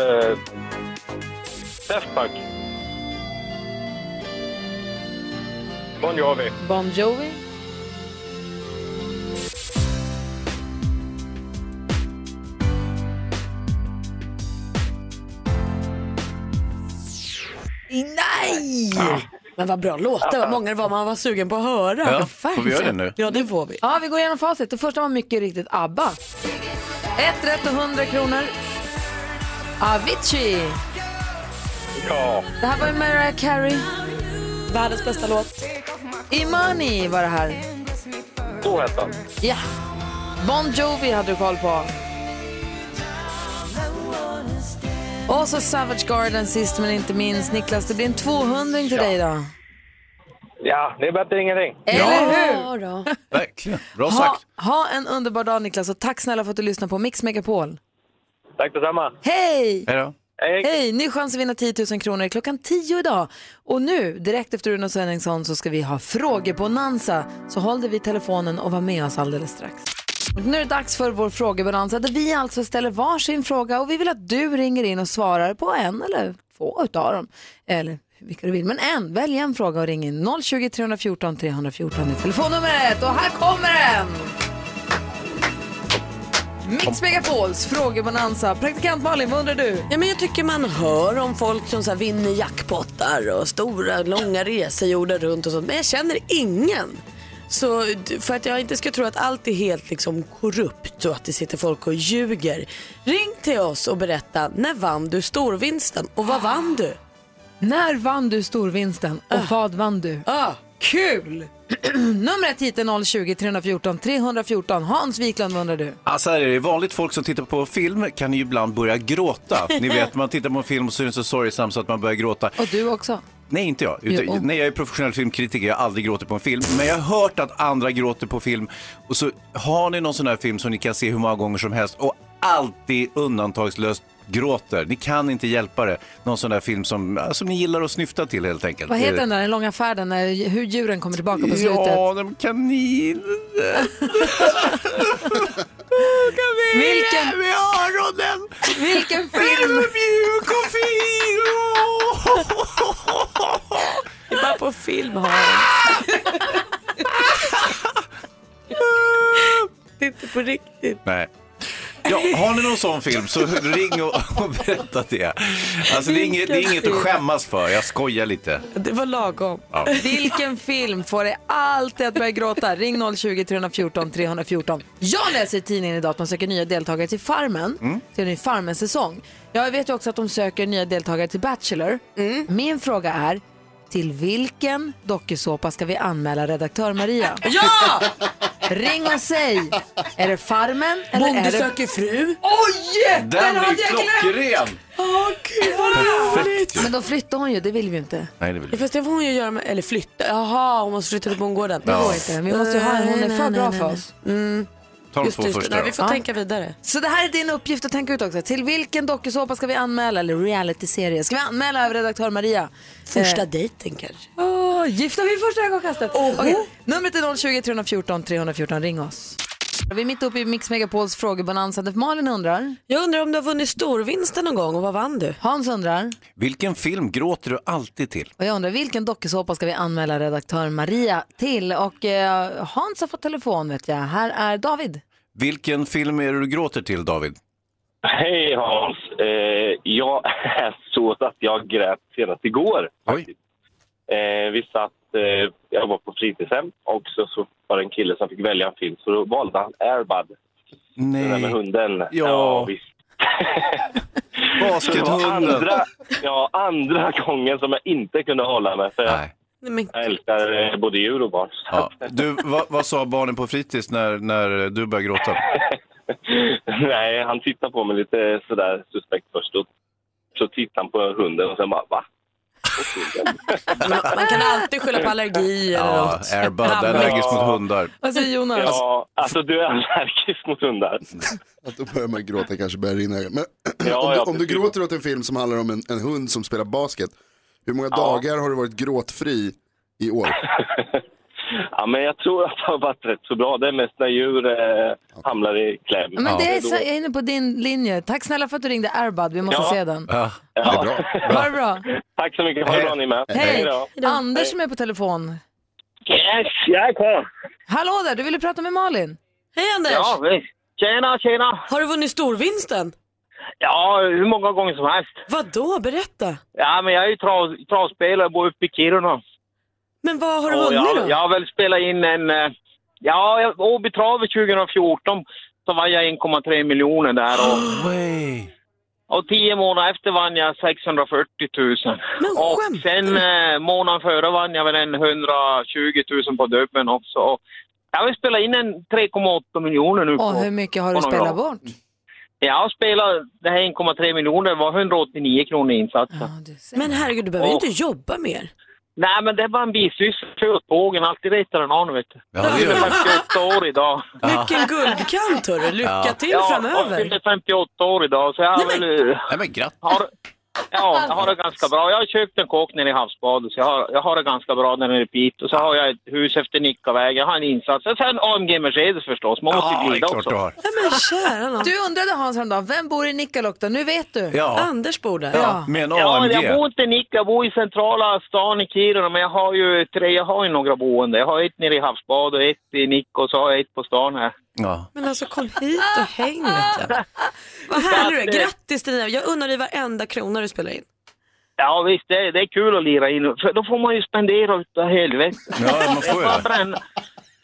[SPEAKER 4] eh, Def Punk. Bon Jovi,
[SPEAKER 1] Bon Jovi. Nej!
[SPEAKER 2] Men vad bra låtar, vad många det var man var sugen på att höra.
[SPEAKER 3] Ja, får vi göra det nu?
[SPEAKER 2] Ja, det får vi.
[SPEAKER 1] Ja, vi går igenom facit. Det första var mycket riktigt ABBA. Ett rätt och 100 kronor. Avicii.
[SPEAKER 4] ja.
[SPEAKER 1] Det här var ju Mariah Carey.
[SPEAKER 2] Världens bästa låt.
[SPEAKER 1] Imani var det här.
[SPEAKER 4] Så hette han.
[SPEAKER 1] Ja. Bon Jovi hade du koll på. Och så Savage Garden sist men inte minst. Niklas, det blir en 200 till dig idag.
[SPEAKER 4] Ja, det är bättre än ingenting.
[SPEAKER 1] Eller hur?
[SPEAKER 3] Verkligen. Bra
[SPEAKER 1] Ha,
[SPEAKER 3] sagt.
[SPEAKER 1] ha en underbar dag Niklas och tack snälla för att du lyssnar på Mix Megapol.
[SPEAKER 4] Tack detsamma.
[SPEAKER 1] Hej!
[SPEAKER 3] Hej då.
[SPEAKER 4] Hej.
[SPEAKER 1] Hej! Ny chans att vinna 10 000 kronor klockan 10 idag. Och nu, direkt efter Uno Svenningsson, så ska vi ha frågebonanza. Så håll dig vid telefonen och var med oss alldeles strax. Och nu är det dags för vår frågebonanza där vi alltså ställer varsin fråga och vi vill att du ringer in och svarar på en eller två utav dem. Eller vilka du vill, men en. Välj en fråga och ring in. 020 314 314 är telefonnumret och här kommer den! Mix Megapols frågebonanza. Praktikant Malin, vad undrar du?
[SPEAKER 2] Ja, men jag tycker man hör om folk som så här, vinner jackpottar och stora långa resor jorden runt och sånt. Men jag känner ingen. Så d- för att jag inte ska tro att allt är helt liksom, korrupt och att det sitter folk och ljuger. Ring till oss och berätta när vann du storvinsten och vad vann du?
[SPEAKER 1] När vann du storvinsten och vad vann du?
[SPEAKER 2] Ah.
[SPEAKER 1] Kul! Numret hit är 020 314 314. Hans Wiklund, vad undrar du?
[SPEAKER 3] Alltså här är det vanligt folk som tittar på film kan ju ibland börja gråta. Ni vet, man tittar på en film och så är den så sorgsam så att man börjar gråta.
[SPEAKER 1] Och du också.
[SPEAKER 3] Nej, inte jag. Utan,
[SPEAKER 1] Jo.
[SPEAKER 3] Nej, jag är professionell filmkritiker, jag har aldrig gråtit på en film. Men jag har hört att andra gråter på film. Och så har ni någon sån här film som ni kan se hur många gånger som helst och alltid undantagslöst gråter. Ni kan inte hjälpa det. Någon sån där film som, ja, som ni gillar att snyfta till helt enkelt. Eh,
[SPEAKER 1] Vad heter den där den långa färden, när, hur djuren kommer tillbaka på slutet?
[SPEAKER 3] Ja, de kaniner.
[SPEAKER 1] Vilken,
[SPEAKER 3] Med öronen.
[SPEAKER 1] vilken
[SPEAKER 3] Den är
[SPEAKER 1] film?
[SPEAKER 3] mjuk och fin.
[SPEAKER 2] Det är bara på film. det är inte på riktigt.
[SPEAKER 3] Nej. Ja, har ni någon sån film så ring och, och berätta det. Alltså det är, inget, det är inget att skämmas för, jag skojar lite.
[SPEAKER 2] Det var lagom.
[SPEAKER 1] Vilken film får dig alltid att börja gråta? Ring 020 314 314. Jag läser i tidningen idag att man söker nya deltagare till Farmen,
[SPEAKER 2] Mm.
[SPEAKER 1] till en ny
[SPEAKER 2] Mm.
[SPEAKER 1] Farmen-säsong. Jag vet ju också att de söker nya deltagare till Bachelor. Min fråga är, Till vilken dokusåpa ska vi anmäla redaktör Maria?
[SPEAKER 2] Ja!
[SPEAKER 1] Ring och säg! Är det Farmen? Eller
[SPEAKER 2] Bonde
[SPEAKER 1] är det...
[SPEAKER 2] söker fru?
[SPEAKER 1] Oj!
[SPEAKER 3] Den är ju klockren!
[SPEAKER 1] Åh, gud vad
[SPEAKER 3] roligt!
[SPEAKER 1] Men då flyttar hon ju, det vill vi ju inte.
[SPEAKER 3] Nej, det vill
[SPEAKER 2] Ja, Fast det får hon ju göra med, eller flytta, jaha hon måste flytta till bondgården.
[SPEAKER 3] Det Ja. går inte,
[SPEAKER 1] vi måste ju ha henne, hon är för bra för oss.
[SPEAKER 2] Mm.
[SPEAKER 3] Ta de
[SPEAKER 2] Just
[SPEAKER 3] två
[SPEAKER 2] det, just det.
[SPEAKER 3] första
[SPEAKER 2] Nej,
[SPEAKER 3] då.
[SPEAKER 2] vi får
[SPEAKER 3] Ja.
[SPEAKER 2] tänka vidare.
[SPEAKER 1] Så det här är din uppgift att tänka ut också. Till vilken dokusåpa ska vi anmäla, eller realityserie, ska vi anmäla över redaktör Maria?
[SPEAKER 2] Första
[SPEAKER 1] Eh,
[SPEAKER 2] dejten kanske.
[SPEAKER 1] Åh, gifta vid första ögonkastet. Okej, Numret är 020 314 314, ring oss. Vi är mitt uppe i Mix Megapols frågebonanza. Malin undrar.
[SPEAKER 2] Jag undrar om du har vunnit storvinsten någon gång och vad vann du?
[SPEAKER 1] Hans undrar.
[SPEAKER 3] Vilken film gråter du alltid till?
[SPEAKER 1] Och jag undrar vilken dokusåpa ska vi anmäla redaktör Maria till? Och eh, Hans har fått telefon vet jag. Här är David.
[SPEAKER 3] Vilken film är det du gråter till David?
[SPEAKER 9] Hej Hans! Eh, jag är så att jag grät senast igår.
[SPEAKER 3] Oj.
[SPEAKER 9] Eh, vi satt, eh, jag var på fritidshem och så, så var det en kille som fick välja en film så då valde han Airbud.
[SPEAKER 3] Nej.
[SPEAKER 9] Den där med hunden. Ja, visst.
[SPEAKER 3] Baskethunden.
[SPEAKER 9] Det var Andra, ja, andra gången som jag inte kunde hålla mig för jag, jag älskar eh, både djur och barn. Så
[SPEAKER 3] Ja. Du, vad, vad sa barnen på fritids när, när du började gråta?
[SPEAKER 9] Nej, han tittade på mig lite sådär suspekt först. Och så tittade han på hunden och sen bara va?
[SPEAKER 2] Man kan alltid skylla på allergier eller
[SPEAKER 3] Ja,
[SPEAKER 2] något.
[SPEAKER 3] Airbud, allergisk mot hundar.
[SPEAKER 1] Vad säger Jonas?
[SPEAKER 9] Ja, alltså du är allergisk mot hundar.
[SPEAKER 6] Att då börjar man gråta kanske börjar rinna. i ögonen. Men
[SPEAKER 9] Ja,
[SPEAKER 6] om, du,
[SPEAKER 9] ja,
[SPEAKER 6] om du
[SPEAKER 9] precis.
[SPEAKER 6] gråter åt en film som handlar om en, en hund som spelar basket, hur många dagar har du varit gråtfri i år?
[SPEAKER 9] Ja, men jag tror att det har varit rätt så bra. Det är mest när djur eh, hamnar i kläm.
[SPEAKER 1] Men det är,
[SPEAKER 9] Då-
[SPEAKER 1] så, jag är inne på din linje. Tack snälla för att du ringde Airbud, vi måste
[SPEAKER 9] Ja.
[SPEAKER 1] se den.
[SPEAKER 3] Ja.
[SPEAKER 9] Ja.
[SPEAKER 6] Det är bra.
[SPEAKER 1] Ha det bra.
[SPEAKER 9] Tack så mycket. Ha det bra ni med.
[SPEAKER 1] Hej!
[SPEAKER 9] då.
[SPEAKER 1] Anders som är på telefon.
[SPEAKER 10] Yes, jag är kvar.
[SPEAKER 1] Hallå där, du ville prata med Malin.
[SPEAKER 2] Hej Anders!
[SPEAKER 10] Ja, visst. Tjena, tjena.
[SPEAKER 2] Har du vunnit storvinsten?
[SPEAKER 10] Ja, hur många gånger som helst.
[SPEAKER 2] Vadå, berätta.
[SPEAKER 10] Ja, men jag är ju trav- travspelare och bor uppe i Kiruna.
[SPEAKER 2] Men vad har du
[SPEAKER 10] Och
[SPEAKER 2] vunnit
[SPEAKER 10] jag,
[SPEAKER 2] då?
[SPEAKER 10] jag har väl spelat in en... eh, Ja, jag- Åbytravet 2014 så vann jag 1,3 miljoner där. Och, och tio månader efter vann jag 640 000. och sen eh, månaden före vann jag väl en 120 000 på dubben också. Och jag vill spela in en 3,8 miljoner nu.
[SPEAKER 1] Och
[SPEAKER 10] på-
[SPEAKER 1] hur mycket har du
[SPEAKER 10] på några
[SPEAKER 1] spelat
[SPEAKER 10] år.
[SPEAKER 1] bort?
[SPEAKER 2] Mm.
[SPEAKER 10] Jag spelar det här 1,3 miljoner, det var 189 kronor i insatsen.
[SPEAKER 2] Men herregud, du behöver ju
[SPEAKER 10] Åh.
[SPEAKER 2] inte jobba mer.
[SPEAKER 10] Nej, men det var en bisyssla. Kör åt bågen, alltid retar den an, vet du.
[SPEAKER 2] Ja, det gör det.
[SPEAKER 10] jag fyller 58 år idag.
[SPEAKER 2] Vilken guldkant hörru, lycka
[SPEAKER 10] Ja.
[SPEAKER 2] till
[SPEAKER 10] ja,
[SPEAKER 2] framöver.
[SPEAKER 10] jag fyller 58 år idag, så jag har väl...
[SPEAKER 3] Nej, men grattis.
[SPEAKER 10] Har, ja, jag har det ganska bra. Jag har köpt en kåk nere i havsbadet, så jag har, jag har det ganska bra nere i Piteå. Så har jag ett hus efter Nikkavägen, jag har en insats. Och sen AMG Mercedes förstås, man måste
[SPEAKER 3] Ja, det
[SPEAKER 10] ju
[SPEAKER 3] är
[SPEAKER 10] glida
[SPEAKER 3] klart
[SPEAKER 10] också.
[SPEAKER 3] du har.
[SPEAKER 1] Du undrade Hans häromdagen, vem bor i Nikkaluokta? Nu vet du.
[SPEAKER 3] Ja.
[SPEAKER 2] Anders bor där.
[SPEAKER 3] Ja, med en
[SPEAKER 10] Ja,
[SPEAKER 3] AMG.
[SPEAKER 10] jag bor inte i Nacka, jag bor i centrala stan i Kiruna, men jag har ju tre, jag har ju några boende. Jag har ett nere i Havsbad och ett i Nacka och så har jag ett på stan här.
[SPEAKER 3] Ja.
[SPEAKER 2] Men alltså kom hit och häng vet du. Vad härlig du är, grattis till dina, jag unnar dig varenda krona du spelar in.
[SPEAKER 10] Ja visst, det, det är kul att lira in, för då får man ju spendera utav helvete.
[SPEAKER 3] Ja, man
[SPEAKER 10] får ju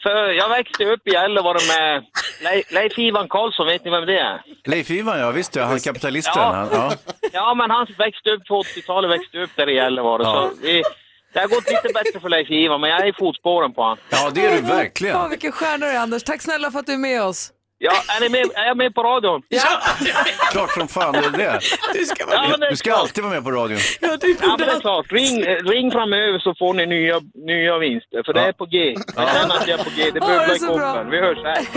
[SPEAKER 10] För jag växte upp i Gällivare med Le- Leif Ivan Karlsson, vet ni vem det är?
[SPEAKER 3] Leif Ivan, ja visst ja, han kapitalisten.
[SPEAKER 10] Ja.
[SPEAKER 3] Han, ja.
[SPEAKER 10] Ja, men han växte upp på 80-talet, växte upp där i Gällivare.
[SPEAKER 3] Ja.
[SPEAKER 10] Så det, det har gått lite bättre för Leif Ivan, men jag är i fotspåren på honom.
[SPEAKER 3] ja, det är du verkligen.
[SPEAKER 1] Åh, vilken stjärna du är Anders, tack snälla för att du är med oss.
[SPEAKER 10] Ja, är, ni med, är jag med på radion?
[SPEAKER 1] Ja!
[SPEAKER 3] Klart som fan det är det.
[SPEAKER 2] Du ska,
[SPEAKER 10] vara med.
[SPEAKER 3] du ska alltid vara med på radion.
[SPEAKER 2] Ja, du
[SPEAKER 10] ja, men det är klart. Ring, eh, ring framöver så får ni nya, nya vinster, för det är på G. Jag känner att jag är på G. Det
[SPEAKER 2] Ja, det är
[SPEAKER 10] bubblar i
[SPEAKER 2] så bra.
[SPEAKER 10] koppen. Vi hörs här.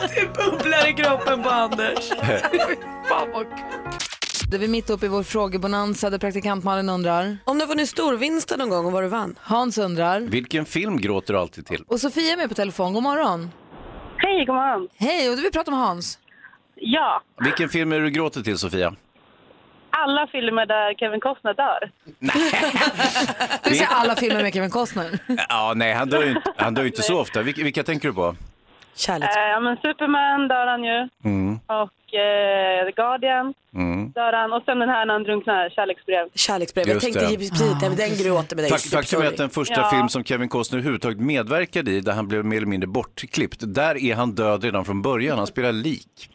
[SPEAKER 2] Det bubblar i kroppen på Anders. Fan vad
[SPEAKER 1] Då är vi mitt uppe i vår frågebonanza där praktikant Malin undrar.
[SPEAKER 2] Om du har vunnit storvinsten någon gång och vad du vann?
[SPEAKER 1] Hans undrar.
[SPEAKER 3] Vilken film gråter du alltid till?
[SPEAKER 1] Och Sofia är med på telefon, god morgon.
[SPEAKER 11] Hej, god morgon.
[SPEAKER 1] Hej, och du vill prata med Hans.
[SPEAKER 11] Ja,
[SPEAKER 3] Vilken film är du gråter till Sofia?
[SPEAKER 11] alla filmer där Kevin Costner dör.
[SPEAKER 1] Du ser alla filmer med Kevin Costner.
[SPEAKER 3] Ja, nej, han dör ju inte, han dör ju inte så ofta. Vilka, vilka tänker du på?
[SPEAKER 2] Kärleks...
[SPEAKER 11] Eh, ja, men Superman dör han ju.
[SPEAKER 3] Mm,
[SPEAKER 11] Och eh, The Guardian
[SPEAKER 3] mm.
[SPEAKER 11] dör han. Och sen den här när han drunknar, Kärleksbrev.
[SPEAKER 2] Kärleksbrev,
[SPEAKER 3] jag Just tänkte det. ju
[SPEAKER 2] precis det, men den gråter med dig.
[SPEAKER 3] Fak- Faktum är att den första
[SPEAKER 11] Ja.
[SPEAKER 3] film som Kevin Costner överhuvudtaget medverkade i, där han blev mer eller mindre bortklippt, där är han död redan från början. Han spelar lik.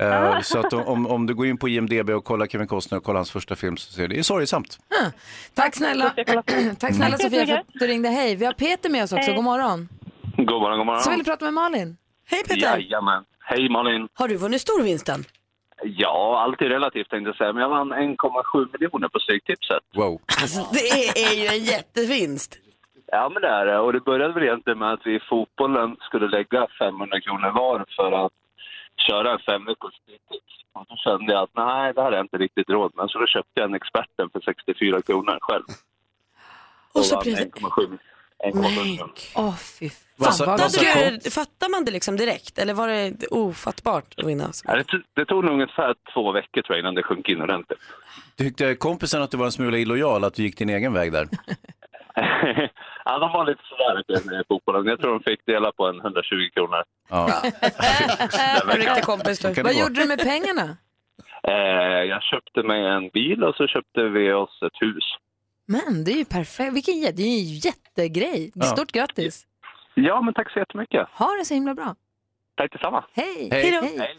[SPEAKER 3] Eh, så att om, om du går in på IMDB och kollar Kevin Costner och kollar hans första film så ser du, det är sorgsamt.
[SPEAKER 1] Ah, Tack snälla, tack snälla
[SPEAKER 3] Tack så
[SPEAKER 1] Sofia för att du ringde. Hej, vi har Peter med oss också.
[SPEAKER 3] Hej.
[SPEAKER 1] God morgon.
[SPEAKER 9] God morgon, god morgon.
[SPEAKER 1] Som vill prata med Malin.
[SPEAKER 2] Hej
[SPEAKER 9] Jajamän. Hej Malin.
[SPEAKER 2] Har du vunnit storvinsten?
[SPEAKER 9] Ja, allt är relativt tänkte jag säga, men jag vann 1,7 miljoner på Stryktipset.
[SPEAKER 3] Wow.
[SPEAKER 2] Det är, är ju en jättevinst.
[SPEAKER 9] Ja, men det är det. Och det började väl egentligen med att vi i fotbollen skulle lägga 500 kronor var för att köra en femveckors Stryktips. Och så kände jag att nej, det här har jag inte riktigt råd med. Så då köpte jag en experten för 64 kronor själv. Och,
[SPEAKER 2] så
[SPEAKER 9] vann
[SPEAKER 2] blev det-
[SPEAKER 9] 1,7 1,7 kronor.
[SPEAKER 1] Åh, fy
[SPEAKER 9] Vad sa- vad sa
[SPEAKER 2] Fattade du,
[SPEAKER 9] kompis?
[SPEAKER 2] fattar man det liksom direkt eller var det ofattbart att vinna?
[SPEAKER 9] Ja, det, tog, det tog nog ungefär två veckor tror jag, innan det sjönk in ordentligt.
[SPEAKER 3] Tyckte kompisen att du var en smula illojal, att du gick din egen väg där?
[SPEAKER 9] ja, de var lite sådär vet du, med fotbollen. Jag tror de fick dela på en 120 kronor.
[SPEAKER 3] Ja.
[SPEAKER 9] Den veckan.
[SPEAKER 2] Riktig kompis
[SPEAKER 9] Så kan det
[SPEAKER 1] Vad
[SPEAKER 9] gå.
[SPEAKER 1] gjorde du med pengarna?
[SPEAKER 9] Eh, jag köpte mig en bil och så köpte vi oss ett hus.
[SPEAKER 1] Men det är ju perfekt. Vilken jä- det är ju en jättegrej.
[SPEAKER 9] Ja.
[SPEAKER 1] Stort grattis.
[SPEAKER 9] Ja, men tack så jättemycket.
[SPEAKER 1] Ha det så himla bra.
[SPEAKER 9] Tack detsamma.
[SPEAKER 1] Hej.
[SPEAKER 9] Hej.
[SPEAKER 1] Hejdå.
[SPEAKER 9] Hej.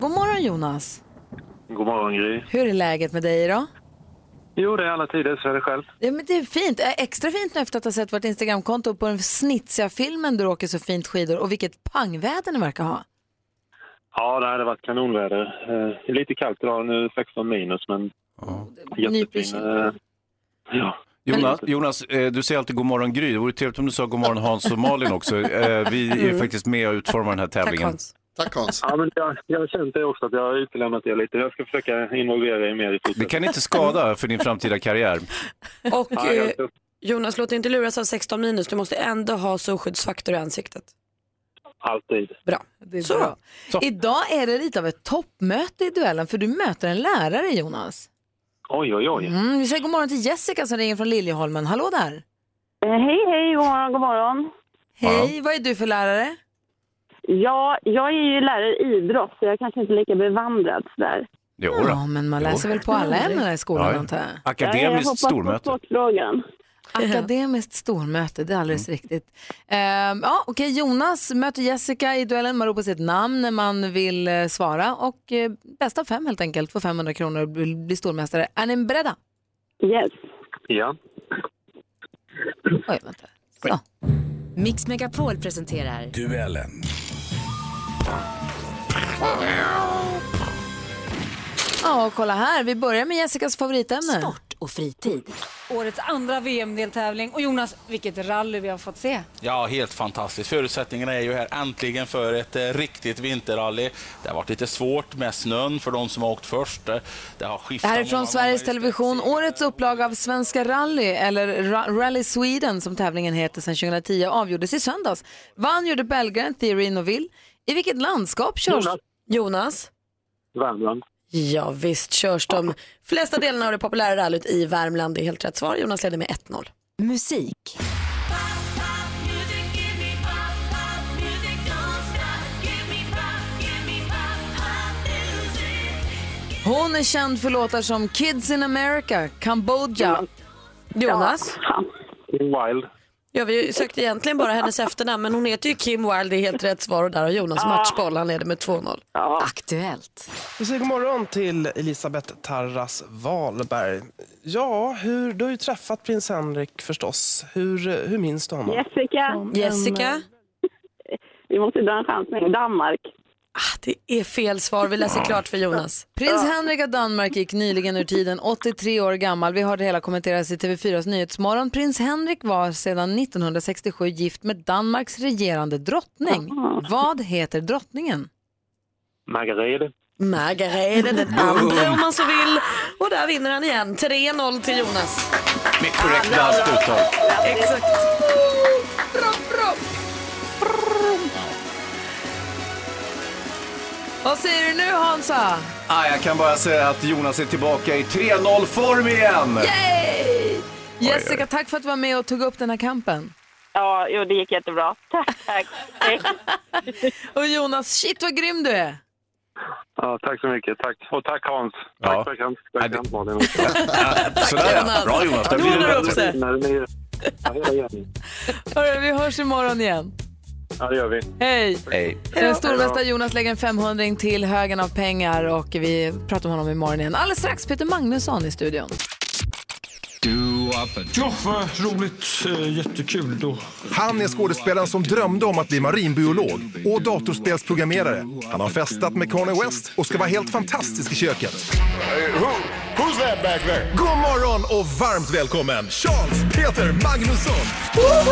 [SPEAKER 1] God morgon Jonas.
[SPEAKER 12] God morgon Gry.
[SPEAKER 1] Hur är läget med dig idag?
[SPEAKER 12] Jo, det är alla tider, så är det själv.
[SPEAKER 1] Ja, men det är fint. Äh, Extra fint nu efter att ha sett vårt Instagramkonto på den snitsiga filmen du åker så fint skidor och vilket pangväder ni verkar ha.
[SPEAKER 12] Ja, det hade varit kanonväder. Eh, Det är lite kallt idag, nu 16 minus, men jättefin. eh, Ja.
[SPEAKER 3] Jonas, Jonas eh, du säger alltid god morgon Gry. Det vore trevligt om du sa god morgon Hans och Malin också. Eh, Vi är
[SPEAKER 12] Mm.
[SPEAKER 3] faktiskt med och utformar den här tävlingen.
[SPEAKER 12] Tack Hans. Ja, men jag, jag har känt det också, att jag har utelämnat er lite. Jag ska försöka involvera er mer i
[SPEAKER 3] Det kan inte skada för din framtida karriär.
[SPEAKER 2] Och
[SPEAKER 12] Ja, jag
[SPEAKER 2] eh, Jonas, låt dig inte luras av 16 minus. Du måste ändå ha solskyddsfaktor i ansiktet.
[SPEAKER 12] Alltid.
[SPEAKER 2] Bra.
[SPEAKER 1] Det är bra. Idag är det lite av ett toppmöte i duellen för du möter en lärare Jonas.
[SPEAKER 12] Oj, oj, oj.
[SPEAKER 1] Mm, vi säger god morgon till Jessica som ringer från Liljeholmen. Hallå där!
[SPEAKER 11] Eh, Hej, hej, god morgon, god morgon.
[SPEAKER 1] Hej, vad är du för lärare?
[SPEAKER 11] Ja, jag är ju lärare i idrott så jag kanske inte är lika bevandrad sådär.
[SPEAKER 3] Jo,
[SPEAKER 1] ja, men man läser väl på alla ämnen i skolan
[SPEAKER 3] Ja, ja.
[SPEAKER 1] antar jag.
[SPEAKER 11] jag
[SPEAKER 3] Akademiskt
[SPEAKER 11] hoppas på
[SPEAKER 3] stormöte.
[SPEAKER 11] sportfrågan.
[SPEAKER 1] Akademiskt stormöte, det är alldeles
[SPEAKER 3] Mm.
[SPEAKER 1] riktigt. Ehm, ja, Okej, Jonas möter Jessica i duellen. Man ropar sitt namn när man vill eh, svara och eh, bästa av fem helt enkelt för 500 kronor och bli bli stormästare. Är ni beredda?
[SPEAKER 11] Yes.
[SPEAKER 12] Ja.
[SPEAKER 1] Oj, vänta. Så.
[SPEAKER 7] Mix Megapol presenterar
[SPEAKER 13] Duellen.
[SPEAKER 1] Ja, och kolla här. Vi börjar med Jessicas favoritämne. Sport och fritid.
[SPEAKER 14] Årets andra VM-deltävling. Och Jonas, vilket rally vi har fått se.
[SPEAKER 13] Ja, helt fantastiskt. Förutsättningarna är ju här äntligen för ett eh, riktigt vinterrally. Det har varit lite svårt med snön för de som har åkt först. Eh, Det har
[SPEAKER 1] Det
[SPEAKER 13] skiftat
[SPEAKER 1] här är från Sveriges Television. Årets upplaga av Svenska rally, eller Ra- Rally Sweden som tävlingen heter sedan 2010, avgjordes i söndags. Vann gjorde belgaren Thierry Neuville. I vilket landskap körs...
[SPEAKER 2] Jonas. Jonas?
[SPEAKER 12] Värmland.
[SPEAKER 2] Ja, visst körs de flesta delarna av det populära rallyt i Värmland. Det är helt rätt svar. Jonas leder med 1-0. Musik.
[SPEAKER 1] Hon är känd för låtar som Kids in America, Cambodja.
[SPEAKER 2] Jonas?
[SPEAKER 12] Wild.
[SPEAKER 2] Ja, vi sökte egentligen bara hennes efternamn, men hon heter ju Kim Wilde. Det är helt rätt svar och där har
[SPEAKER 11] Ah.
[SPEAKER 2] Jonas matchboll. Han leder med 2-0.
[SPEAKER 7] Aktuellt.
[SPEAKER 15] Vi säger god morgon till Elisabeth Tarras Wahlberg. Ja, hur, du har ju träffat prins Henrik förstås. Hur, hur minns du honom?
[SPEAKER 11] Jessica.
[SPEAKER 2] Jessica?
[SPEAKER 11] Vi måste dra en chansning. Danmark.
[SPEAKER 2] Ah, Det är fel svar. Vi läser klart för Jonas.
[SPEAKER 1] Prins Henrik av Danmark gick nyligen ur tiden, 83 år gammal. Vi hörde hela kommenteras i TV4s Nyhetsmorgon. Prins Henrik var sedan 1967 gift med Danmarks regerande drottning. Vad heter drottningen?
[SPEAKER 12] Margareta.
[SPEAKER 2] Margareta den andra om man så vill. Och där vinner han igen. 3-0 till Jonas.
[SPEAKER 3] Med korrekt danskt uttal.
[SPEAKER 2] Exakt.
[SPEAKER 1] Vad säger du nu Hansa?
[SPEAKER 3] Ah, jag kan bara säga att Jonas är tillbaka i 3-0-form igen.
[SPEAKER 1] Yay! Jessica, tack för att du var med och tog upp den här kampen.
[SPEAKER 11] Ja, jo, det gick jättebra. Tack, tack.
[SPEAKER 1] och Jonas, shit vad grym du är!
[SPEAKER 12] Ja, tack så mycket. Tack. Och tack Hans. Tack, tack Hans. Tack Hans Malin.
[SPEAKER 3] Sådär ja. Bra Jonas, där
[SPEAKER 12] Nu
[SPEAKER 3] blir det
[SPEAKER 12] håller du upp
[SPEAKER 3] bättre.
[SPEAKER 12] sig. Ja, hela gänget.
[SPEAKER 1] Hörru, vi hörs imorgon igen.
[SPEAKER 12] Ja, det gör vi.
[SPEAKER 1] Hej!
[SPEAKER 12] Hej.
[SPEAKER 1] Eh, Stormästare Jonas lägger en 500 till högen av pengar och vi pratar med honom imorgon igen. Alldeles strax Peter Magnusson i studion.
[SPEAKER 16] Ja, vad roligt. Eh, Jättekul. Då.
[SPEAKER 17] Han är skådespelaren som drömde om att bli marinbiolog och datorspelsprogrammerare. Han har festat med Kanye West och ska vara helt fantastisk i köket.
[SPEAKER 18] Who's that back there?
[SPEAKER 17] God morgon och varmt välkommen Charles Peter Magnusson!
[SPEAKER 1] God